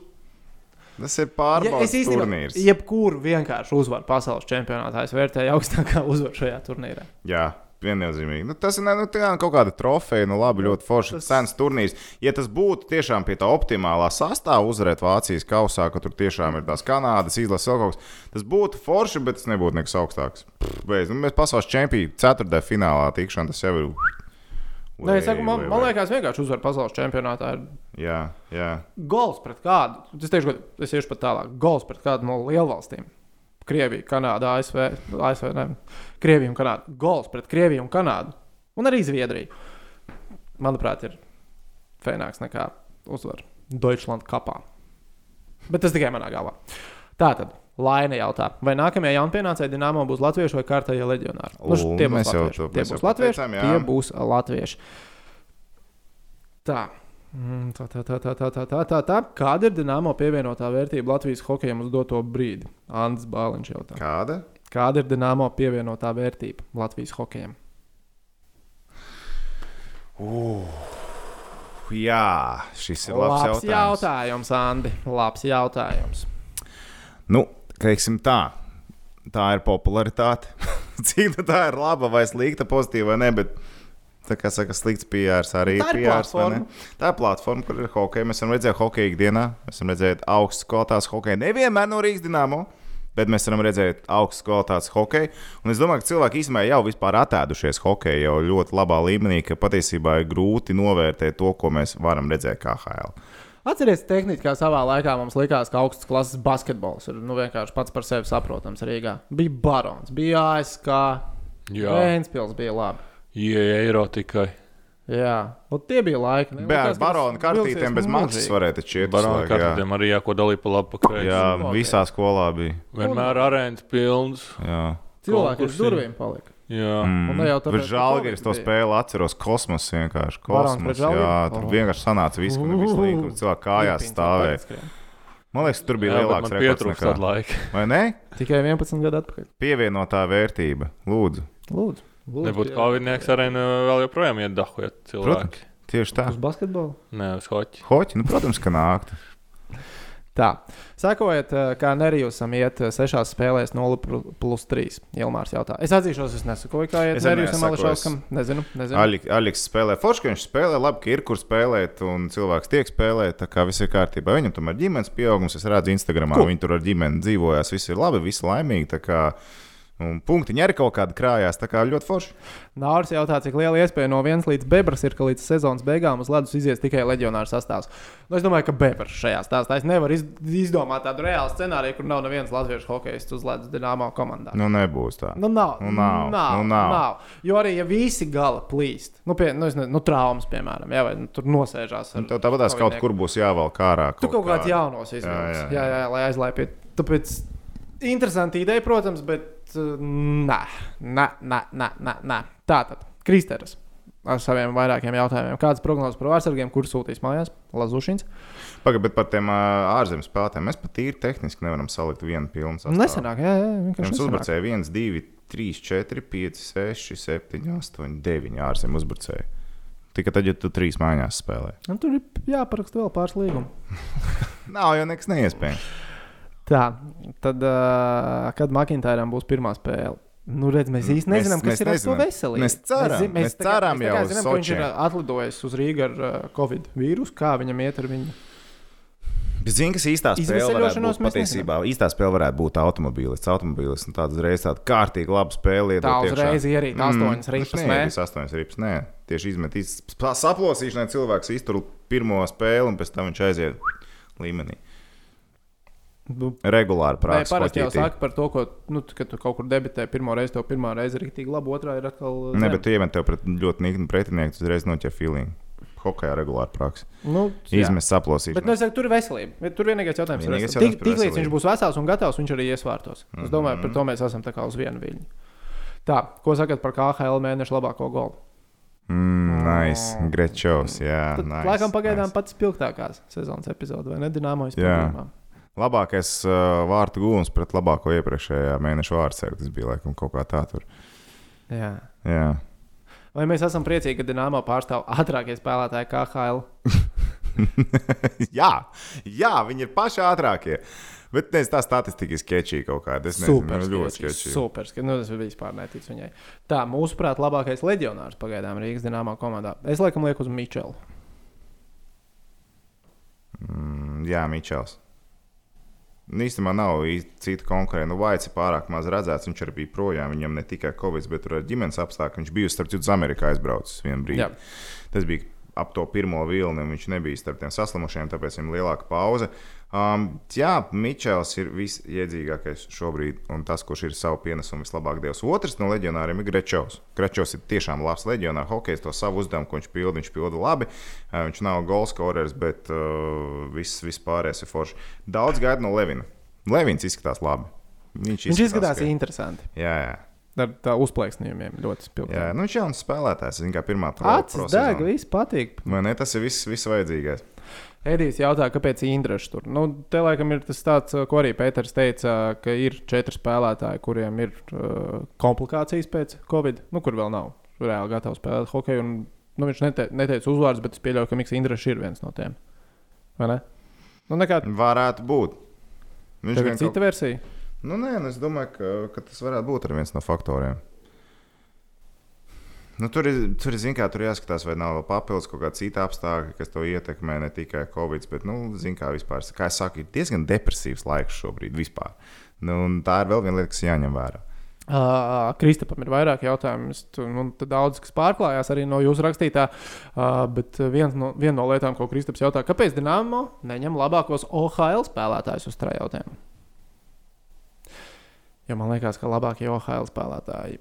tas ir
Ja, es
pārbaudas
īstenībā
turnīrs.
jebkuru vienkārši uzvaru pasaules čempionātā es vērtēju augstākā (laughs) uzvaru šajā turnīrā.
Jā, viennozīmīgi. Nu, tas ir ne, nu, tā kā kaut kāda trofeja, nu labi, ļoti forša tas...
Tas-
cenas turnīrs. Ja tas būtu tiešām pie tā optimālā sastāvā uzvarēt Vācijas kausā, ka tur tiešām ir tās Kanādas izlases vēl kaut kas, tas būtu forši, bet tas nebūtu nekas augstāks. Pff, Beidz, nu, mēs pasaules čempionu ceturtajā finālā tikšanā tas jau ir.
Nē, Nu, es saku, man, man liekas, vienkārši uzvaru pasaules čempionātā ir
Jā, jā.
gols pret kādu. Es teikšu, ka es iešu pat tālāk. Gols pret kādu no lielvalstīm. Krievija, Kanāda, ASV, ASV ne, Krievija un Kanāda. Gols pret Krieviju un Kanādu. Un arī Zviedriju. Manuprāt, ir fēnāks nekā uzvara Deutschland kapā. Bet tas tikai manā galvā. Tā tad. Laina jautā, vai nākamajā jaunpienācēji Dienāmo būs latvieši vai kārtējie leģionāri? Nu,
U,
tie būs
mēs jau
latvieši.
to-
Tie
mēs
būs
jau
latvieši.
pateicām, jā.
Tie būs latvieši. Tā. Mm, Tā, tā, tā, tā, tā, tā, tā, tā, tā. Kāda ir dīnāmo pievienotā vērtība Latvijas hokejam uz doto brīdi? Andris Bāliņš jautā.
Kāda?
Kāda ir dīnāmo pievienotā vērtība Latvijas hokejam?
Jā, šis ir labs, labs jautājums.
jautājums, Andi. Labs jautājums.
Nu, teiksim tā, tā ir popularitāte. (laughs) Cik nu tā ir laba vai slikta, pozitīva vai nē, bet tā kā saka, slikts PRS arī
Tā ir
PRS, vai ne?
platforma.
Tā ir platforma, kur ir hockey. Mēs esam redzējuši hockey ikdienā, mēs esam redzējuši augstas kvalitātes hockey. Nevienmēr no Rīgas dīnāmo. Bet mēs varam redzēt augstas kvalitātes hokeju. Un es domāju, ka cilvēki īstenībā jau ir atradušies hokeja jau ļoti labā līmenī, ka patiesībā ir grūti novērtēt to, ko mēs varam redzēt KHL.
Atcerieties, tehniski kā savā laikā mums likās, ka augstas klases basketbols ir nu, vienkārši pats par sevi saprotams Rīgā. Bija barons, bija ASK,
Jā,
Vēnspils bija labi.
ieeja eiro tikai.
Jā, un tie bija laiki. ne?
Bet
Nu, Likās,
ar
ka
baronu
tas vilcies
kartītēm bez maksas
mūžīgi.
varētu šķiet,
Barona
ka tā
kartēm arī jāko dalīja pa labu pakreiz.
Jā,
Cilvēki.
visā skolā bija.
Vienmēr arēns pilns.
Jā.
Cilvēki uz
konkursi.
durvīm palika.
Jā.
Mm.
Un ne jau tāpēc,
Bet
ka
žēlīgi, ka
Covid
to
bija.
spēli atceros kosmos vienkārši.
Barons
Kosmos,
pret Žalgiri?
jā, tur
Oh.
vienkārši sanāca viss, kur nebija slīd, kur cilvēki kājās
Filipīns
stāvēja.
vēl aizskrien.
Man liekas, tur bija
Jā, bet
lielāks
man
rekords
pietrūkst tāda
nekā.
laika.
Vai ne?
Tikai 11 gadu atpakaļ.
Pievienotā vērtība. Lūdzu.
Lūdzu, lūdzu
Nebūtu
pie-
Kalvinieks arēnā vēl joprojām iet dahu, ja cilvēki.
Tieši tā.
Uz basketbolu?
Nē, uz hoķi.
Hoķi, nu, protams, ka nākt.
Tā. Sekojiet, eh, kā Nerijusam iet eh, sešās spēlēs 0 pl- plus 3. Ilmārs jautā. Es atzīšos, es nesakoju, kā iet
Es arī
Nerijusam
nesakoju, es-
Ališauskam. Nezinu, nezinu.
Aļik- Aļiks spēlē forši, ka viņš spēlē labi, ka ir kur spēlēt, un cilvēks tiek spēlēt. Tā kā viss ir kārtībā. Viņam tomēr ģimenes pieaugums, es redzu, Instagramā cool. viņi tur ar ģimeni dzīvojās. Viss ir labi, viss laimīgi. tā kā, Un punktiņi arī kaut kādi krājās. Tā kā ļoti forši.
Nāris jautā, cik liela iespēja no 1 līdz bebras ir, ka līdz sezonas beigām uz ledus izies tikai leģionāra sastāvs. Nu, es domāju, ka bebras šajā stāstā. Es nevaru iz izdomāt tādu reālu scenāriju, kur nav nevienas latviešu hokeistu uz ledus dināmā komandā.
Nu, nebūs tā.
Nu, nav.
Nu, nav.
Nav,
Nu, nav.
nav. Jo arī, ja visi gala plīst, nu, pie, nu, es nezinu, nu traumas, piemēram, jā, vai nu, tur nosēžās. ar
Nu, Tev tāpat kaut
kaujinieku.
kur būs jāvelk ārā.
Tu kaut kāds
kādi.
jaunos izvēlējies.
jā,
Jā, jā, jā, lai aizlaipītu. Tāpēc interesanti ideja, protams, bet uh, nē, nē, nē, nē, nē, nē. Tā tad Kristēras. Ar saviem vairākiem jautājumiem. Kādas prognozes par vārsargiem, kurus sūtīs mājās? Lazušins.
Pagaid, bet par tiem ā, ārzemes spēlētājiem mēs pat īri tehniski nevaram salikt vienu pilnu sastāvu.
Nesenāk, jā, jā, vienkārši.
Jums
nesenāk.
uzbrucēji 1, 2, 3, 4, 5, 6, 7, 8, 9 ārzemju uzbrucēji. Tikai tad, ja tu trīs mājās spēlē.
Nu, Tur ir jāparaksta vēl pāris līgumus.
Nav jau nekas neiespējams.
Tā, tad, uh, kad Makintāram būs pirmā spēle? Nu, redz, mēs īstenībā
Mēs-
nezinām,
mēs
kas ir ar to
nezinām.
veselību.
Mēs ceram,
zi-
mēs
tā kā-
ceram
mēs tā
jau
kā
uz
zinām, ka viņš ir
Sočiem.
uh, atlidojis uz Rīgā ar uh, Covid vīrusu. Kā viņam iet ar viņu?
Bet zini, kas īstā spēle varētu
Izveseļošanos
būt
mēs
patiesībā? Īstā spēle varētu būt automobīlis. Automobīlis un tāds reiz tāda kārtīga laba spēle. iedot
Tā
iekšā.
uzreiz ierīt astoņas
nu,
ripas,
nē,
nē?
tas astoņas rips. Nē, tieši izmetīs. Saplosīšanai cilvēks iztur pirmo spēli un pēc tam viņš aiziet līmenī.
Nu,
Regulāri
Nē,
prātā.
parasti jau saka par to, ka, nu, t- kad tu kaut kur debitē, pirmā reize tev pirmā reize ir rīktīgi laba, otrā ir atkal. uh,
Nē,
zem.
bet tu iemet tev pret ļoti niknu pretinieku, tu uzreiz noķer feeling. Hokejā regulāri praksa.
nu, jā.
Izmest saplosīt.
Bet, nu, es saku, tur ir veselība. Tur vienīgais jautājums ir,
Vienīgais
kas tik,
jautājums Mhm. par
tik līdz
veselību.
viņš būs vesels un gatavs, viņš arī iesvārtos. Es domāju, par to mēs esam tā kā uz vienu viļņu. Tā, ko sakat par KHL mēnešu labāko golu?
Mmm, nice. Grečovs, jā.
Oh. Tad,
Ah,
nice,
Nice,
laikam, pagaidām nice.
Nice.
pats spilgtākās sezonas epizode, vai ne? Dināmo
Jā.
izpildījumā.
Labākais uh, vārtu gūns pret labāko iepriekšējā mēneša vārdsēju. Tas bija laikam kaut kā tā tur.
Jā.
Jā. (laughs)
Vai mēs esam priecīgi, ka Dināmo pārstāv ātrākie spēlētāji KHL?
jā, jā, viņi ir paši ātrākie. Bet nezinu, tā statistika ir sketčīga kaut kāda. Es nezinu,
Super,
ļoti
sketčīgi,
sketčīga.
super. sketčīgi. Nu, tas bija vispār neticis viņai. Tā, mūsuprāt, labākais leģionārs pagaidām Rīgas Dināmo komandā. Es laikam lieku uz Mičelu.
Mm, jā, Mičels. Nu, Īstenībā nav īsti citu konkurentu. Vaits ir pārāk maz redzēts. Viņš arī bija projām. Viņam ne tikai Covid, bet arī ģimenes apstākļi. Viņš bija starp citu uz Ameriku aizbraucis vienu brīdi.
Jā.
Tas bija ap to pirmo vilni, un viņš nebija starp tiem saslimušajiem, tāpēc viņam bija lielāka pauze. Um, jā, Mičels ir visiedzīgākais šobrīd, un tas, kurš ir savu pienesumu vislabāk devis. Otrs no leģionāriem ir Grečovs. Grečovs ir tiešām labs leģionārs. Hokejs to savu uzdevumu, ko viņš pilda, viņš pilda labi. Uh, viņš nav goalscorers, bet uh, viss vispārējais ir forši. Daudz gaida no Levina. Levins izskatās labi. Viņš
Viņš izskatās
ka-
interesanti.
Jā, jā.
Ar tā uzplaiksnījumiem ļoti spilgti.
jā. Nu, viņš ir jauns spēlētājs. Viņa kā pirmā pro- pro
Acis deg,
sezonu.
viss patīk.
Vai ne? Tas ir viss, viss vajadzīgais.
Edijs jautā, kāpēc Indrašs tur. Nu, te laikam ir tas tāds, ko arī Pēters teica, ka ir četri spēlētāji, kuriem ir uh, komplikācijas pēc Covid, nu, kur vēl nav reāli gatavi spēlēt hokeju. Un, nu, viņš nete, neteica uzvārdus, bet es pieļauju, ka Mikls Indrašs ir viens no tiem. Vai ne? Nu, nekā
Varētu būt. Viņš
Tev ir
gan
cita
kaut...
versija.
nu, nē, nu, es domāju, ka, ka tas varētu būt arī viens no faktoriem. Nu, tur ir, tur, ir zin, kā, tur jāskatās, vai nav vēl papildus kaut kāda cita apstākļa, kas to ietekmē, ne tikai Covid, bet, nu, zin, kā vispār. Kā es saku, ir diezgan depresīvs laiks šobrīd vispār. Nu, un tā ir vēl viena lieta, kas jāņem vērā.
Uh, Kristapam ir vairāk jautājumu. Es tu- Nu, te daudz kas pārklājās arī no jūsu rakstītā. Uh, bet viena no, viena no lietām, ko Kristaps jautā, kāpēc Dienāmo neņem labākos OHL spēlētājus uz trājautiem? Jo man liekas, ka labākie OHL spēlētāji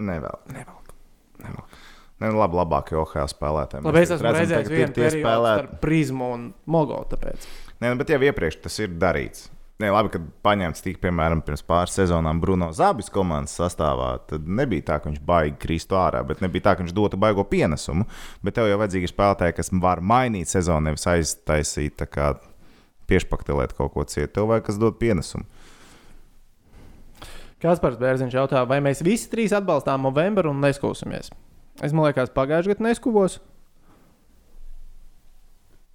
Nevēl.
nevelk.
Ne, labi, labākie OHL spēlētāji.
Labi, es esmu
tagad
redzējis
ir
vienu
tie
periodu
spēlētāji.
ar prizmu un mogo. Tāpēc.
Nē, nu, bet jau iepriekš tas ir darīts. Nē, labi, kad paņemts tik, piemēram, pirms pāris sezonām Bruno Zabis komandas sastāvā, tad nebija tā, ka viņš baigi kristu ārā, bet nebija tā, ka viņš dotu baigo pienesumu. Bet tev jau vajadzīgi ir spēlētāji, kas var mainīt sezonu, nevis aiztaisīt tā kā piešpaktelēt kaut ko cietu. Tev vajag, kas dod pienesumu.
Kaspars Bērziņš jautā, vai mēs visi trīs atbalstām novembrī un neskūsimies? Es domāju, ka pagājušajā gadā neskuvos.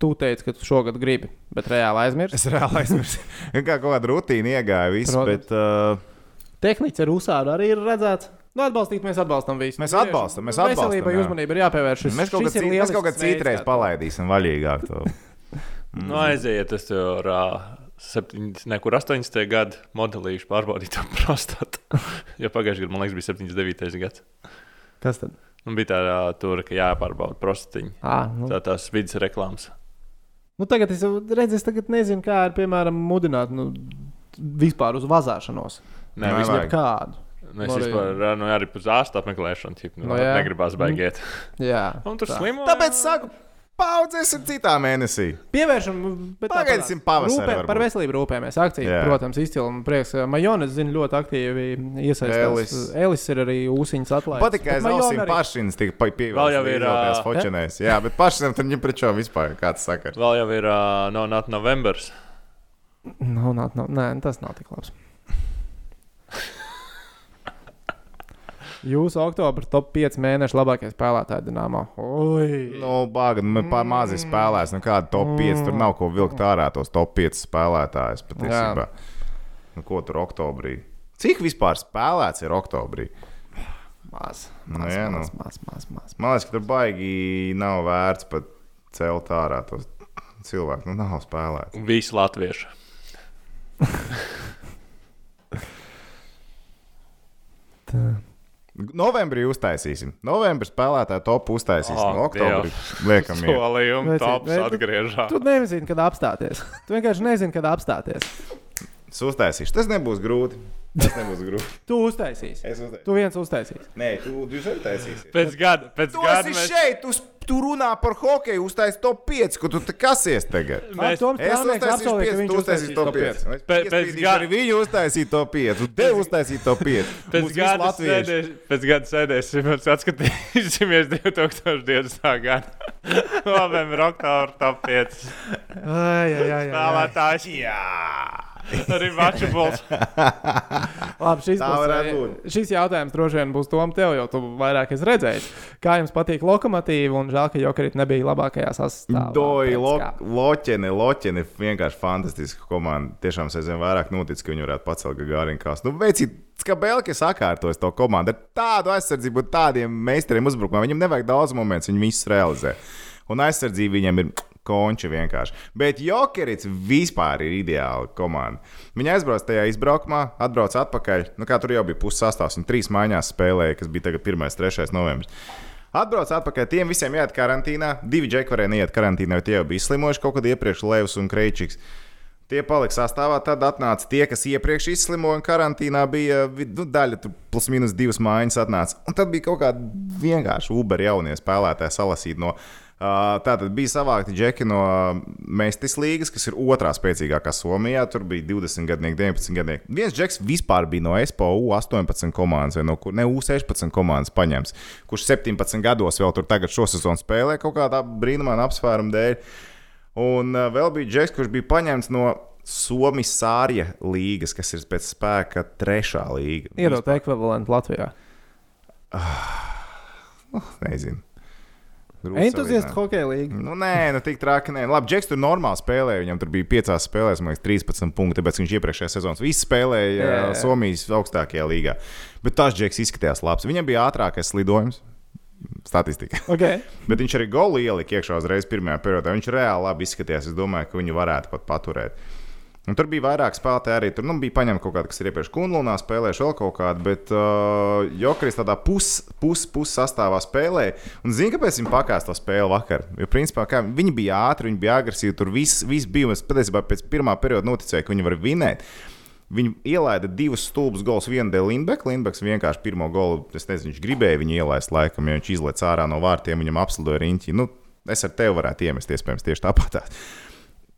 Tu teici, ka tu šogad gribi, bet reāli aizmirsti.
Es reāli aizmirsu. (laughs) Kā kaut kāda rutīna iegāja, viss.
Protams.
Bet, uh,
Tehnicis ar Usāru arī ir redzēts. Nu, atbalstīt, mēs atbalstām visu.
Mēs atbalstam, mēs atbalstam,
Veselībai
jā.
uzmanība ir jāpievērš. Šis,
mēs kaut
šis ir
kādā
lielisks
citā veidā
veids,
citreiz
kā-
palaidīsim vaļīgāk. To. Mm.
Nu, aiziet, tas jau ir. Nekur 80. gada modelīšu pārbaudīt to (laughs) prostatu. jo pagājušajā gadā, man liekas, bija 79. gads.
Kas tad?
Un bija tāda tur, ka jāpārbauda prostatiņa.
À, nu.
Tā tās vidas reklāmas.
Nu, tagad es jau redzu, es tagad nezinu, kā ir piemēram mudināt nu, vispār uz vazāšanos.
Nē,
Nē,
vispār,
Vajag.
Kādu?
mēs
Arī-
vispār ā, nu, arī pēc ārsta apmeklēšanu tipu, nu,
Nu,
no,
jā.
negribās baigiet.
Jā.
Un tur
tā.
slimo.
Tāpēc saku, paudzēsim citā mēnesī.
Pievēršam, bet
Pagaidīsim
tāpat.
pavasari
Rūpē,
varbūt.
par veselību rūpējamies. Akcija,
Jā.
yeah. protams, izcila un prieks. Majonis zina ļoti aktīvi iesaistās.
Elis.
Elis ir arī ūsiņas atlaide.
Patīk, ka aiz ausīm pašins tika
Vēl
pievilkts.
jau ir, ā,
fočenēs. Jā, bet pašinam tam ņem prečo vispār kāds sakars.
Vēl jau ir uh, no Nāta novembris.
Nav, nav, nav, Nu, nē, tas nav tik labs. Jūsu oktobra top 5 mēnešu labākie spēlētāji Dienāmā. Ui!
Nu, bāga, nu, pār mazi spēlēs. Nu, kāda top 5? Tur nav ko vilkt ārā tos top 5 spēlētājus patiesībā. Nu, ko tur oktobrī? Cik vispār spēlēts ir oktobrī?
Maz,
Nu,
maz,
jā, nu.
maz, maz, maz, maz.
Man liekas, ka tur baigi nav vērts pat celt ārā tos cilvēkus. Nu, nav spēlēts.
Visi latvieši.
Novembrī uztaisīsim. Novembrī spēlētāju topu uztaisīsim.
Ak,
Oktobrī
(laughs)
liekam, ir.
Solījumi
Veciet,
tops
bet-
atgriežas.
Tu nezini, kad apstāties. Tu vienkārši nezini, kad apstāties.
Es uztaisīšu. Tas nebūs grūti. Tas nebūs grūti.
Tu uztaisīsi.
Es uztaisīšu.
Tu viens uztaisīsi.
Nē, tu jūs arī taisīsiet.
Pēc gada, pēc
Tu
gada
esi
mēs,
šeit, tu, s- tu runā par hokeju, uztais top 5, ko tu te kasies tagad.
Ar
mēs,
Toms
Es
Krāmnieks
uztaisīju
apsolīja, ka
5,
viņš
tu uztaisīsi top 5. Es
Pēc- pēc
piespiedīšu
gada-
arī viņu uztaisīju top 5, un tev uztaisīju top 5.
pēc gada sēdēs, pēc gada sēdēsim un atskatīsimies (laughs) 2020. gada. (laughs) Novembris, oktobrs, top 5.
Ai, ai, ai, ai, ai.
Spēlētājs. Arī Vačubols.
Labi, šis,
Tā
būs,
varētu
eh, šis jautājums droši vien būs Tom tev, jo tu vairāk esi redzējis. Kā jums patīk lokomotīva un žēl, ka Jokarīt nebija labākajā sastāvā?
Doji,
pēc
lo-
kā.
loķeni, loķeni, vienkārši fantastiska komanda. Tiešām es aizvien vairāk noticu, ka viņi varētu pacelt Gagārinkās. Nu, veicīt, kā Belki sakārtojas to komandu ar tādu aizsardzību, un tādiem meistariem uzbrukumā. Viņam nevajag daudz momentu, viņi visus realizē. Un aizsardzība viņam ir konča vienkārši. Bet Jokerits vispār ir ideāla komanda. Viņa aizbrauc tajā izbraukumā, atbrauc atpakaļ. Nu, kā tur jau bija puses sastāvs un trīs maiņās spēlēja, kas bija tagad 1. un 3. novembris. Atbrauc atpakaļ, tiem visiem jāiet karantīnā. Divi džeki varēja neiet karantīnā, jo tie jau bija izslimojuši kaut kad iepriekš, Leivs un Kreičiks. Tie palika sastāvā, tad atnāca tie, kas iepriekš izslimoja un karantīnā bija vi- nu, daļa, tur plus mīnus divas mājas atnāca. Un tad bija kaut kāda vienkārši Uber jaunie spēlētāji salasīt no. Uh, tā tad bija savākti džeki no uh, Mestis līnijas, kas ir otrā spēcīgākā Somijā. Tur bija 20 gadnieki, 19 gadnieki. Viens džeks vispār bija no SPU 18 komandas, vai no kur, ne U16 komandas paņemts, kurš 17 gados vēl tur tagad šosezon spēlē kaut kādā brīnumainā apsvēruma dēļ. Un uh, vēl bija džeks, kurš bija paņemts no Somijas sārija līnijas, kas ir pēc spēka trešā līga. Nu,
Iedot ekvivalentu Latvijā.
Nezinu. Grūti
Entuziasts
salīdzināt.
hokeja līnija.
Nu, nē, nu, tik traki. Nē. Labi, Džeks tur normāli spēlēja. Viņam tur bija 5 spēlēs, man liekas, 13 punkti. Tāpēc viņš iepriekšējā sezonā visu spēlēja jā,
Jā,
jā.
jā.
Somijas augstākajā līgā. Bet tas Džeks izskatījās labs. Viņam bija ātrākais lidojums. Statistika. (laughs)
Okay.
Bet viņš arī goli ielika iekšā uzreiz pirmajā periodā. Viņš reāli labi izskatījās. Es domāju, ka viņu varētu pat paturēt. Un tur bija vairāk spēlētāju arī. Tur nu, bija paņemta kaut kāda, kas ir iepriekš Kunlunā, spēlējuši vēl kaut kādu, bet uh, Jokeris tādā puspus pus sastāvā spēlēja. Un zini, kāpēc viņam pakāpās tā spēle vakar? Jo, principā, kā, viņi bija ātri, viņi bija agresīvi, tur viss, viss bija. Un es patiesībā pēc pirmā perioda noticēju, ka viņi var vinēt. Viņi ielaida divus stulbus gols. Vienu dēļ Lindbeka. Lindbeks vienkārši pirmo golu, es nezinu, viņš gribēja viņu ielaist, laikam, jo viņš izlaiž ārā no vārtiem, viņam apslidoja riņķi. Nu, es ar tevi varētu iemest, iespējams, tieši tāpat.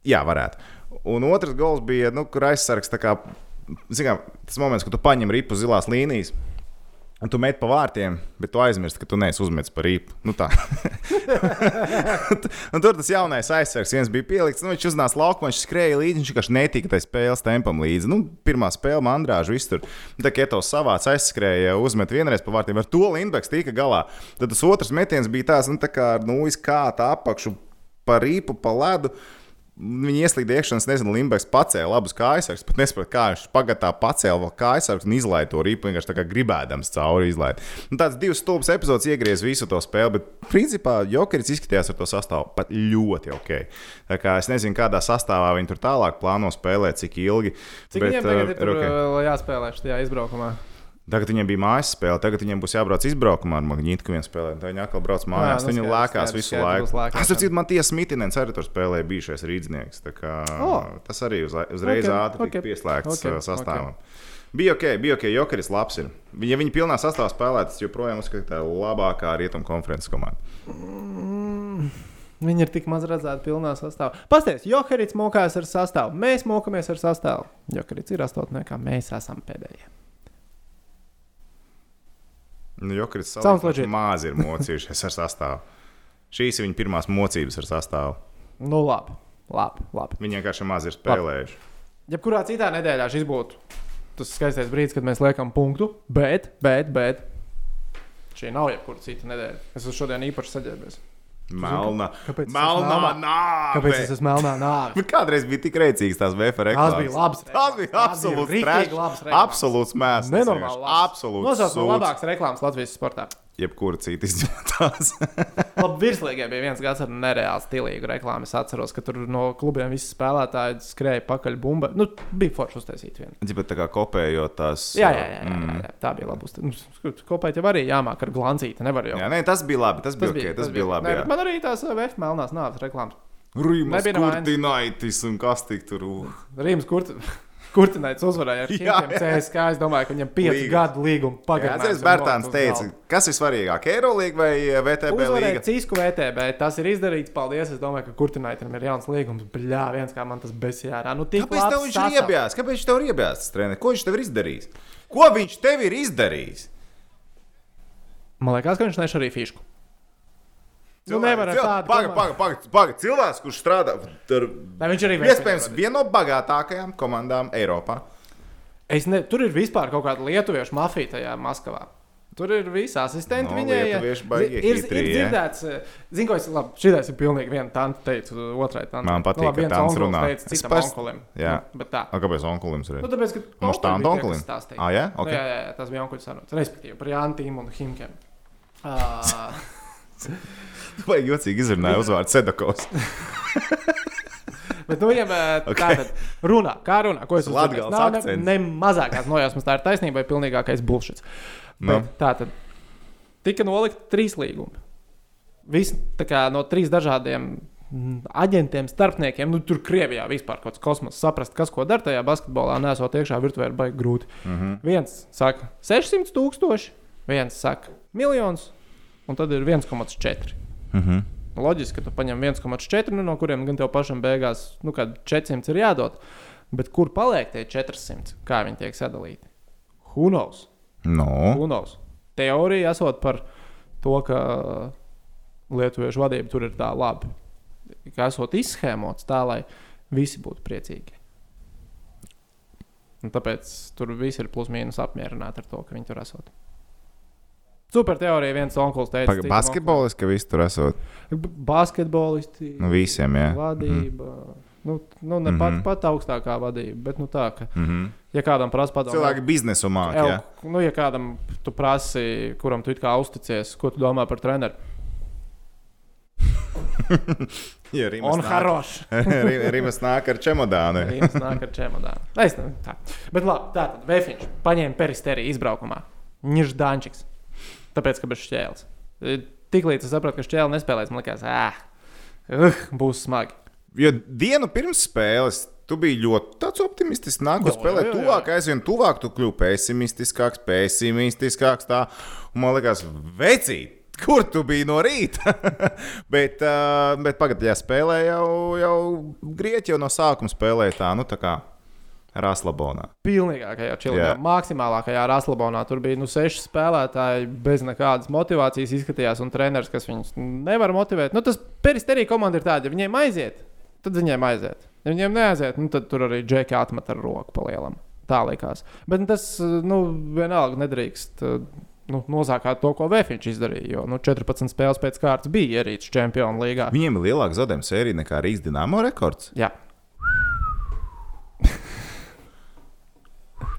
Jā, varētu. Un otrs gols bija, nu, kur aizsargs. tā Kā, zinām, tas moments, kad tu paņem ripu zilās līnijas. Un tu met pa vārtiem, bet tu aizmirsti, ka tu neesi uzmetis par rīpu. Nu, tā. (laughs) un tur tas jaunais aizsargs, viens bija pielikts. Nu, viņš uznāca laukumā, viņš skrēja līdzi, viņš vienkārši netika tai spēles tempam līdzi. Nu, pirmā spēle, mandrāža, viss tur. Un Tā kā Eto savāca, aizskrēja, uzmet vienreiz pa vārtiem. Ar to Lindbeks tika galā. Tad tas otrs metiens bija tāds, nu, tā kā ar nūjas kāta apakšu pa rīpu, pa ledu. Viņa ieslīda iekšā, es nezinu, Limbaģis pacēla abus kājasargus, pat nesaprata, kā viņš pagatā pacēla vēl kājasargus un izlaiž to rīpu, vienkārši tā kā gribēdams cauri izlaiž. Nu, tāds divs stulbs epizodes iegriez visu to spēli, bet principā Jokeris izskatījās ar to sastāvu pat ļoti ok. Tā kā es nezinu, kādā sastāvā viņi tur tālāk plāno spēlēt, cik ilgi.
Cik viņiem tagad
eh,
ir tur,
ok.
vēl jāspēlē šajā izbraukumā?
Tagad viņiem bija mājas spēle, tagad viņiem būs jābrauc izbraukumā ar magnītu, ka viņi spēlē. Tad viņi atkal brauc mājās.
nu,
Viņi
skaidrs,
lēkās
skaidrs,
visu
skaidrs, būs
laiku.
lēkāšana.
Es saprotu, man tiesa mitinens arī tur spēlēja bijušais rīznieks.
O.
Tas arī uz, uzreiz
Ok,
okay, ātri
ok,
okay, pieslēgts
ok,
okay, sastāvam. Okay. Bija ok, bija ok, Jokeris labs ir. Ja viņi pilnā sastāvā spēlē, tas joprojām uzskata, ka tā ir labākā rietumu konferences komanda.
Viņi ir tik maz redzēti pilnā sastāvā. Pastāstiet, Jokerits mokās ar sastāvu. Mēs mokamies ar sastāvu. Jokerits ir astotniekā, mēs esam pēdējie.
Nu, Jokeris
Sounds
salīdzinoši
legit.
maz ir mocījušies ar sastāvu. Šīs ir viņa pirmās mocības ar sastāvu.
Nu, labi, labi. labi.
Viņi vienkārši maz ir spēlējuši.
Jebkurā citā nedēļā šis būtu tas skaistais brīdis, kad mēs liekam punktu, bet, bet, bet. Šī nav jebkura cita nedēļa. Es uz šodien īpaši saģērbies.
Melna.
Kāpēc es
Melnā
esmu
nāve.
Kāpēc es esmu melnā nāve?
Bet Kādreiz bija tik rēcīgs tās
Tās
VFR reklāmas.
bija labas
Tās bija
reklāmas. Tās bija
absolūti
riktīgi labas
trash.
reklāmas.
Absolūts mēsls.
Nenormāli.
vienkārši.
labs.
Absolūts.
Nosauc man
sūds.
labākas reklāmas Latvijas sportā.
Jebkura
(laughs)
cita izņemtās.
Labi, virslīgā bija viens gads ar nereāli stilīgu reklāmu. Es atceros, ka tur no klubiem visi spēlētāji skrēja pakaļ bumba. Nu, bija forši uztaisīt vienu.
Ģipa tā kā kopējot tās. mm.
Jā, jā, jā, jā, jā, jā. tā bija labi. uzta- Nu, skat, Kopēt jau arī jāmāk ar glancīti. Nevar jau.
Jā, nē, tas bija labi. Tas bija ok. Tas bija labi.
Nē, bet
jā.
man arī tās eh, VF melnās nāves reklāmas.
Rīmas
nebija nevainas.
Kurtinaitis un kas tik tur. uh.
Rīms Kurt, (laughs) Kurtinaits uzvarēja ar
Jā,
Hinkiem
jā.
CSK. Es domāju, ka viņam 5
Līgums.
gadu līguma
Jā,
pagarinājums.
Atceries, Bērtāns teica, kas ir svarīgāk, Eirolīga vai eh, VTB
Uzvarēja
līga?
Cīsku VTB, tas ir izdarīts. Paldies. Es domāju, ka Kurtinaitam ir jauns līgums. Bļā, viens kā man tas besijārā. Nu, tik
Kāpēc tev
labs
viņš ir
sastāvs.
iebjās? Kāpēc viņš tev ir iebjās, treneris? Ko viņš tev ir izdarījis? Ko viņš tev ir izdarījis?
Man liekas, ka viņš nes arī fišku. Nu,
Cilvēks-
nevar ar
cilvēks-
tādu
Paga,
komandu.
paga, paga, paga. Cilvēks, kurš strādā, tur
Nē, viņš arī veiksmīgi
iespējams
vadīja.
viena no bagātākajām komandām Eiropā.
Es ne, tur ir vispār kaut kāda lietuviešu mafija tajā Maskavā. Tur ir visi asistenti.
Nu,
viņai, ja-
lietuvieši
ir,
baigi hitri,
ir
ja.
dzirdēts, zinu, ko es. Labi, šis ir pilnīgi viena tanta teica, otrā tanta.
Man patīk,
nu, labi,
ka
viens
tants
onkulis
runā.
Teica,
Es
citam
pers-
onkulim.
Jā.
Nu, bet tā.
A, kāpēc Onkolims ir?
Nu, tāpēc, ka
Mums tā
onkulim bija tie,
onkulim?
kas stāstīja.
Ah, jā?
Nu,
Ok.
jā, jā, jā, tas bija onkulis sarunas. Respektīvi par Jāntīm un
(laughs)
Himkiem. Uh,
Vai jocīgi izrunāja uzvārdu
(laughs)
Sedakovs?
Bet, nu, viņam okay.
Ok.
tāda runā, kā runā, ko es
Tas
uzzinājis.
Latgales
Nav ne,
akcents.
ne mazākās nojausmas, tā ir taisnība vai pilnīgākais bullshit.
Nu.
Bet Tā tad tika nolikt trīs līgumi. Visi tā kā no trīs dažādiem. mm, Aģentiem, starpniekiem, nu tur Krievijā vispār kaut kāds kosmos, saprast, kas ko dara tajā basketbolā, nesot iekšā virtuvē, ir baigi grūti. Mm
Mhm.
-hmm. Viens saka 600 tūkstoši, viens saka miljonus, un tad ir 1,4.
Mhm.
Loģiski, ka tu paņem 1,4, nu, no kuriem gan tev pašam beigās, nu, kādi 400 ir jādod. Bet kur paliek tie 400? Kā viņi tiek sadalīti? Hunos.
No.
Hunos. Teorija esot par to, ka lietuviešu vadība tur ir tā laba. Kā esot izsēmots tā, lai visi būtu priecīgi. Un tāpēc tur viss ir plus mīnus apmierināti ar to, ka viņi tur esot. Super teorija, viens onkulis teica. citam
Basketbolis, ka viss tur esot.
B- basketbolisti,
Nu, visiem, jā.
vadība. Mm. Nu, nu, ne mm -hmm.
Mhm.
pat, pat augstākā vadība, bet nu, tā, ka,
Mm -hmm.
ja kādam prasa padomu,
Cilvēki biznesu māk,
el,
jā.
nu, ja kādam tu prasi, kuram tu it kā uzticies, ko tu domā par treneru,
Ja Rimas
Un
nāk- (laughs)
harošs.
Ri- Rimas nāk ar čemodānu.
Rīgas nāk ar čemodānu. Es nezinu, tā. Bet labi, tā tad Vēfiņš paņēma peristēriju izbraukumā. Viņš ir Dančiks. Tāpēc, ka bez šķēles. Tiklīdz es sapratu, ka šķēle nespēlēs, man liekas, ah, uh, būs smagi.
Jo dienu pirms spēles tu biji ļoti tāds optimistisks. Nākamā
Jā,
spēlē
jā, jā,
tuvāk, aizvien tuvāk tu kļūsi pesimistiskāks, pesimistiskāks. Tā. Un man liekas, veci! Kur tu biji no rīta? (laughs) bet, uh, bet pagājušajā spēlē jau, jau Grieķija jau no sākuma spēlēja tā, nu tā kā Rāslabonā.
Pilnīgākajā čilā,
Jā.
maksimālākajā raslabonā. Tur bija nu, seši spēlētāji bez nekādas motivācijas izskatījās, un treneris, kas viņus nevar motivēt. Nu, tas peristerija komanda ir tāda, ja viņiem aiziet, tad viņiem aiziet. Ja viņiem neaiziet, nu, tad tur arī džeki atmet ar roku palielam. Tā likās. Bet nu, tas nu, vienalga nedrīkst. Nu, Nozākāt to, ko Vēfiņš izdarīja. Jo nu, 14 spēles pēc kārtas bija ierīts Champions League.
Viņiem ir lielāka zaudējuma sērija nekā Rīgas dīnāmo rekords.
Jā,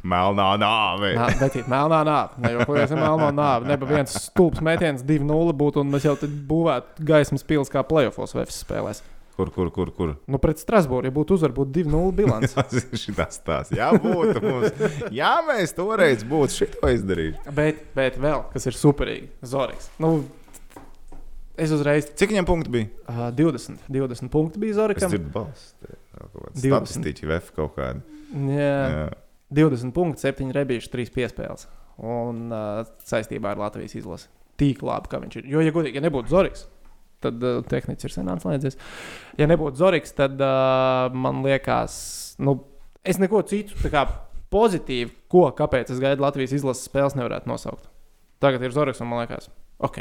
Melnā nāve!
Nā, bet ir melnā nāve. Ne jau plakāts, ir melnā nāve. Ne pa viens stulbs mētējums, 2-0 būtu, un mēs jau tad būvētu gaismas pils kā playoffs vai spēlēs.
Kur, kur, kur? kur? (laughs)
Nu, pret Strasbūru, ja būtu uzvar, būtu 2-0 bilants.
Tas ir šis tās. Jā, būtu mums. Jā, mēs toreiz būtu šito izdarījuši.
(laughs) bet, bet vēl, kas ir superīgi, Zorgs. Nu, es uzreiz
Cik viņam punkti bija?
uh, 20, 20 punkti bija
Es
Zorgam.
dzirdu balstu. te vēl kaut kāda
12.
Statistiķi, VF kaut kāda.
Jā,
Jā.
20 punkti, 7 rebīši, 3 piespēles. Un uh, saistībā ar Latvijas izlasi. Tik labi, ka viņš ir. Jo, ja godīgi, ja nebūtu Zorgs, tad uh, tehnicis ir sen atslēdzies. Ja nebūtu Zorgs, tad uh, man liekas, nu, es neko citu tā kā pozitīvu, ko, kāpēc es gaidu Latvijas izlases spēles, nevarētu nosaukt. Tagad ir Zorgs, un man liekas, ok,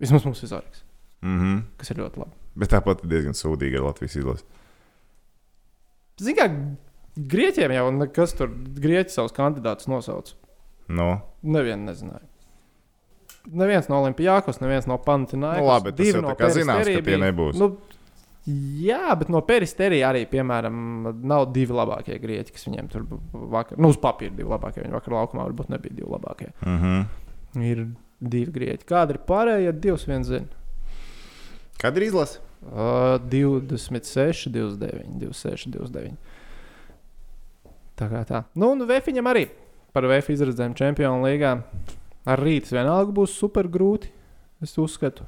vismaz mums ir Zorgs,
Mhm.
kas ir ļoti labi.
Bet tāpat ir diezgan sūdīgi ar Latvijas izlasi.
Zinām, kā grieķiem jau nekas tur, grieķi savus kandidātus nosauc.
No.
Nevienu nezināju. Neviens no Olimpijākos, neviens no Pantīnas.
Nu, labi, tas jau tā kā zināms, ka tie nebūs.
Nu, jā, bet no peristerija arī, piemēram, nav divi labākie grieķi, kas viņiem tur bija vakar. Nu, uz papīra divi labākie. Viņu vakar laukumā varbūt nebija divi labākie.
Mhm.
Ir divi grieķi. Kādi ir pārējie? Divs viens zina.
Kad ir izlase?
Uh, 26, 29, 26, 29. Tā kā tā. Nu, un Vēfiņam arī par Vēfiņu izredzēm Čempionu līgā. Ar rītu vienalga būs super grūti. Es uzskatu.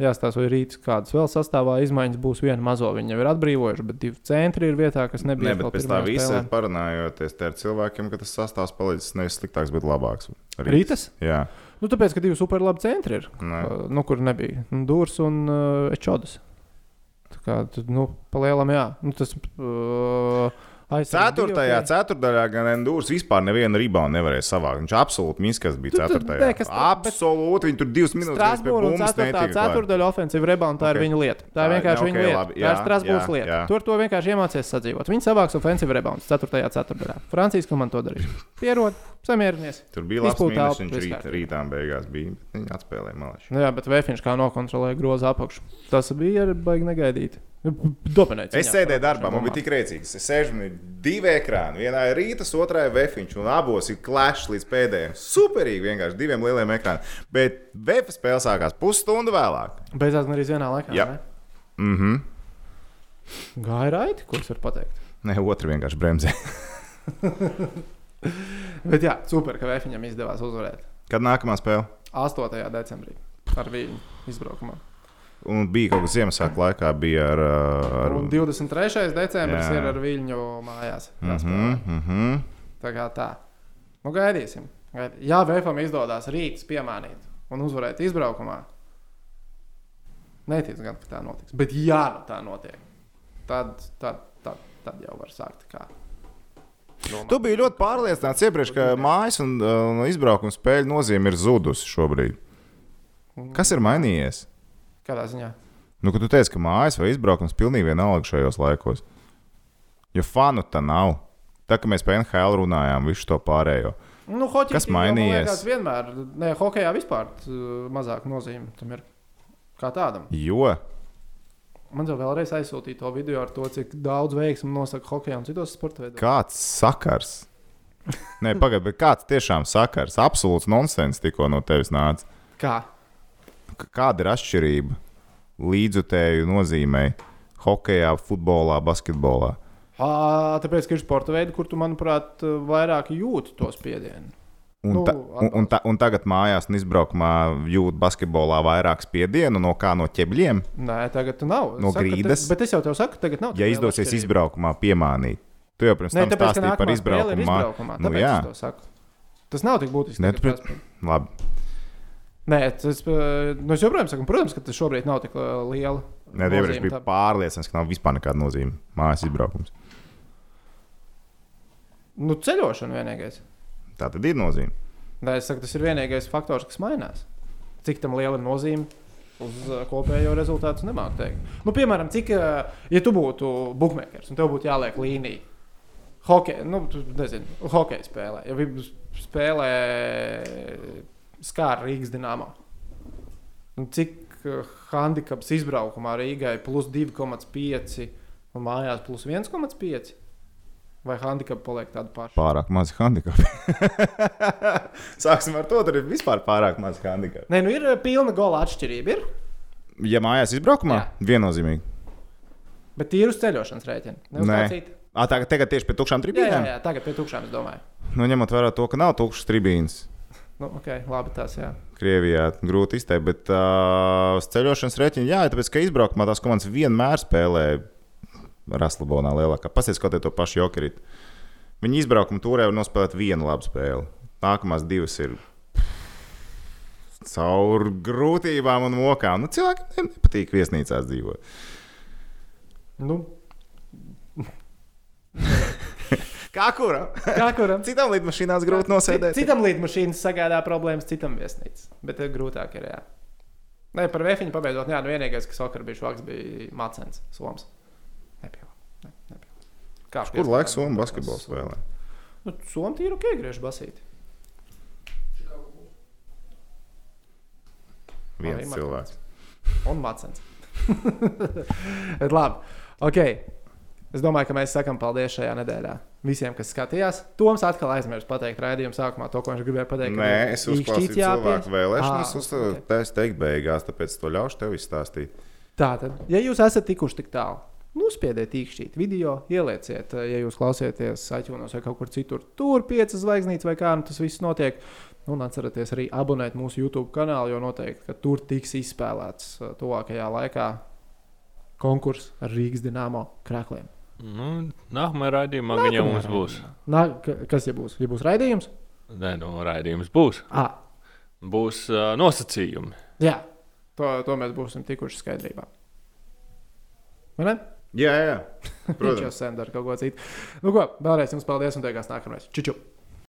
Jāstāsta, vai rītā kādas vēl sastāvā izmaiņas būs. Vienu mazo viņi jau ir atbrīvojuši, bet divi centri ir vietā, kas nebija.
Nē, bet
atkal
pēc tā
pirmajā
visa
spēlē.
parunājoties te ar cilvēkiem, ka tas sastāvs palicis nevis sliktāks, bet labāks.
Rītas?
Jā.
Nu, tāpēc, ka divi super labi centri ir.
Nē.
Uh, nu, kur nebija dūris un uh, ečodas. Tā kā tad, nu, palielam, jā. Nu, tas, uh,
Ceturtajā, ceturtajā gan Endūrs vispār nevienu ribānu nevarēja savākt. Viņš absolūti miskas bija
Tu tur
ceturtajā.
nekas- bet-
Absolūti, viņi tur divas minūtes pie
Strasbūrā un
bumbas
4.
netika klāt.
ceturdaļa ofensīva rebound, tā okay.
Ok.
ir viņa lieta. Tā ir
Tā,
vienkārši
jā,
okay, viņa
ok,
lieta.
labi,
tā
jā,
ir Strasbūras
jā,
lieta.
jā.
Tur to vienkārši iemācījās sadzīvot. Viņa savāks ofensīvu rebound 4. ceturdaļā. Francijas komanda to darīja. Pierod, samierinies.
Tur bija labs
Izpūta
mīnus,
elpa,
viņš
viss
rīt,
kārtībā.
rītā beigās bija. bet Viņi atspēlēja malā.
Nu, jā, bet Vēfiņš kā nokontrolēja grozu apakšu. Tas bija arī baigi negaidīti. Dominēts.
Es sēdēju darbā, man bija tik rēcīgs. Es sēžu un ir divi ekrāni. Vienā ir rītas, otrā ir vefiņš, un abos ir klāšs līdz pēdējiem. Superīgi vienkārši diviem lieliem ekrāniem. Bet vefa spēle sākās pusstundu vēlāk.
Beidzās arī vienā laikā.
Jā.
ne?
Mhm.
Gāja raiti, kurus var pateikt.
Nē, otra vienkārši bremzē. (laughs)
Bet jā, super, ka Vēfiņam izdevās uzvarēt.
Kad nākamā spēle?
8. decembrī ar viņu izbraukumā.
Un bija kaut kas Ziemassvētku laikā, bija ar. uh, ar...
Un 23. decembris
Jā.
jā. ir ar viņu mājās.
Mm -hmm, mm -hmm.
Tā kā tā. Nu, gaidīsim. Gaid- Ja Vēfam izdodas rītā piemānīt un uzvarēt izbraukumā, netiks gan, ka tā notiks. Bet, ja nu tā notiek, tad, tad, tad, tad jau var sākt. Kā. domāt.
Tu biji ļoti pārliecināts iepriekš, ka mājas un uh, izbraukuma spēļu nozīme ir zudusi šobrīd. Kas ir mainījies?
Kādā ziņā?
Nu, kad tu teici, ka mājas vai izbraukums pilnīgi vienalga šajos laikos. Jo fanu tā nav. Tā kā mēs par NHL runājām, visu to pārējo.
Nu, hoķis,
Kas
Tas
mainījies?
vienmēr, ne, hokeja vispār t- mazāk nozīme tam ir kā tādam.
Jo
Man jau vēlreiz aizsūtīja to video ar to, cik daudz veiksmu nosaka hokeja un citos sporta veidos.
kāds sakars? Nē, pagaidi, bet kāds tiešām sakars? Absolūts nonsens tikko no tevis nāca.
Kā?
K- Kāda ir atšķirība? līdzutēju nozīmei hokeja, futbolā, basketbolā.
Ā, Tāpēc, ka ir sporta veidi, kur tu, manuprāt, vairāk jūti to spiedienu.
Un,
Nu,
ta, un, un, ta, un tagad mājās un izbraukumā jūt basketbolā vairāk spiedienu no kā no ķebļiem.
Nē, tagad nav.
No
Saka,
grīdas?
Te, bet es jau tev saku, tagad nav.
Ja
tik liela
izdosies
atšķirība.
izbraukumā piemānīt, tu jau pirms
Nē,
tam
tāpēc, ka
stāstīji par
nākamā spēle ir
izbraukumu. mā-
izbraukumā.
Nu,
tāpēc
jā,
es to saku. Tas nav tik būtiski.
Nē,
tagad
tāpēc-
tās-
labi.
Nē, tas, eh, nu, es joprojām saku, protams, ka tas šobrīd nav tik eh, liela.
Nē,
nozīme
iepriekš bija
tam.
pārliecināts, ka nav vispār nekāda nozīme mājas izbraukums.
Nu, ceļošana vienīgais.
Tā tad ir nozīme.
Nē, es saku, tas ir vienīgais faktors, kas mainās. Cik tam liela nozīme uz uh, kopējo rezultātu es nemāku teikt. Nu, piemēram, cik, uh, ja tu būtu bookmakers un tev būtu jāliek līnija, hokeja, nu, tu nezini, hokeja spēlē, ja viņi spēlē skāra Rīgas dīnāmā. Cik uh, handicaps izbraukumā Rīgai plus 2,5 un mājās plus 1,5? Vai handicap paliek tāda paša?
Pārāk mazi handikapi. (laughs) Sāksim ar to, tur ir vispār pārāk mazi handikapi.
Nē, nu ir uh, pilna gola atšķirība. Ir?
Ja mājās izbraukumā, viennozīmīgi.
Bet tīri uz ceļošanas rēķina. Nevis
Nē.
kā citu.
À, tā, tagad tieši pie tukšām
Jā, jā,
tribīnēm.
jā, tagad pie tukšām es domāju.
Nu, ņemot vērā to, ka nav tukšas tribīnes.
Nu, ok, labi, tās jā.
Krievijā grūti izteikt, bet uh, uz ceļošanas rēķina, jā, tāpēc, ka izbraukumā tās komandas vienmēr spēlē Raslabonā lielākā. Pasties, kā te to pašu jokerīt. Viņi izbraukuma turē var nospēlēt vienu labu spēli. Nākamās divas ir caur grūtībām un mokām. Nu, cilvēkiem nepatīk viesnīcās dzīvot.
Nu,
Kā kuram?
kā
(laughs)
kuram?
Citām lidmašīnās grūti nosēdēt.
Citam līdmašīnas sagādā problēmas, citam viesnīcas. Bet eh, grūtāk ir, jā. Nē, par vēfiņu pabeidzot, jā, nu vienīgais, kas vakar bija švaks, bija Macens, Soms. Nepilna. Ne, nepilna. Kā
Kur laiks Somijas basketbols spēlē?
Nu, Somija ir ok, griež basīt.
Viens
Arī
cilvēks.
Un Macens. (laughs) Bet labi, ok. Es domāju, ka mēs sakām paldies šajā nedēļā visiem, kas skatījās. Toms atkal aizmirsa pateikt raidījuma sākumā to, ko viņš gribēja pateikt.
Nē, es uzklausīju cilvēku vēlēšanas,
Ah,
un okay.
ok.
tas teikt beigās, tāpēc to ļaušu tev izstāstīt.
Tā tad, ja jūs esat tikuši tik tālu, nospiediet īkšķīt video, ielieciet, eh, ja jūs klausieties aizjūnos vai kaut kur citur, tur piecas zvaigznītes vai kā nu tas viss notiek. Nu, Un atcerieties arī abonēt mūsu YouTube kanālu, jo noteikti, ka tur tiks izspēlēts eh, tuvākajā laikā konkurss ar Rīgas dīnāmo krākliem.
Nu, nākamajā raidījumā gan jau mums būs.
Nā, ka- kas ja būs? Ja būs raidījums?
Nē, nu, raidījums būs.
À,
Būs uh, nosacījumi.
jā, to, to mēs būsim tikuši skaidrībā. Vai ne? (laughs)
Jā, jā, jā.
Viņš jau sen dara kaut ko citu. Nu, ko, vēlreiz jums paldies un teikās nākamreiz. Čiču!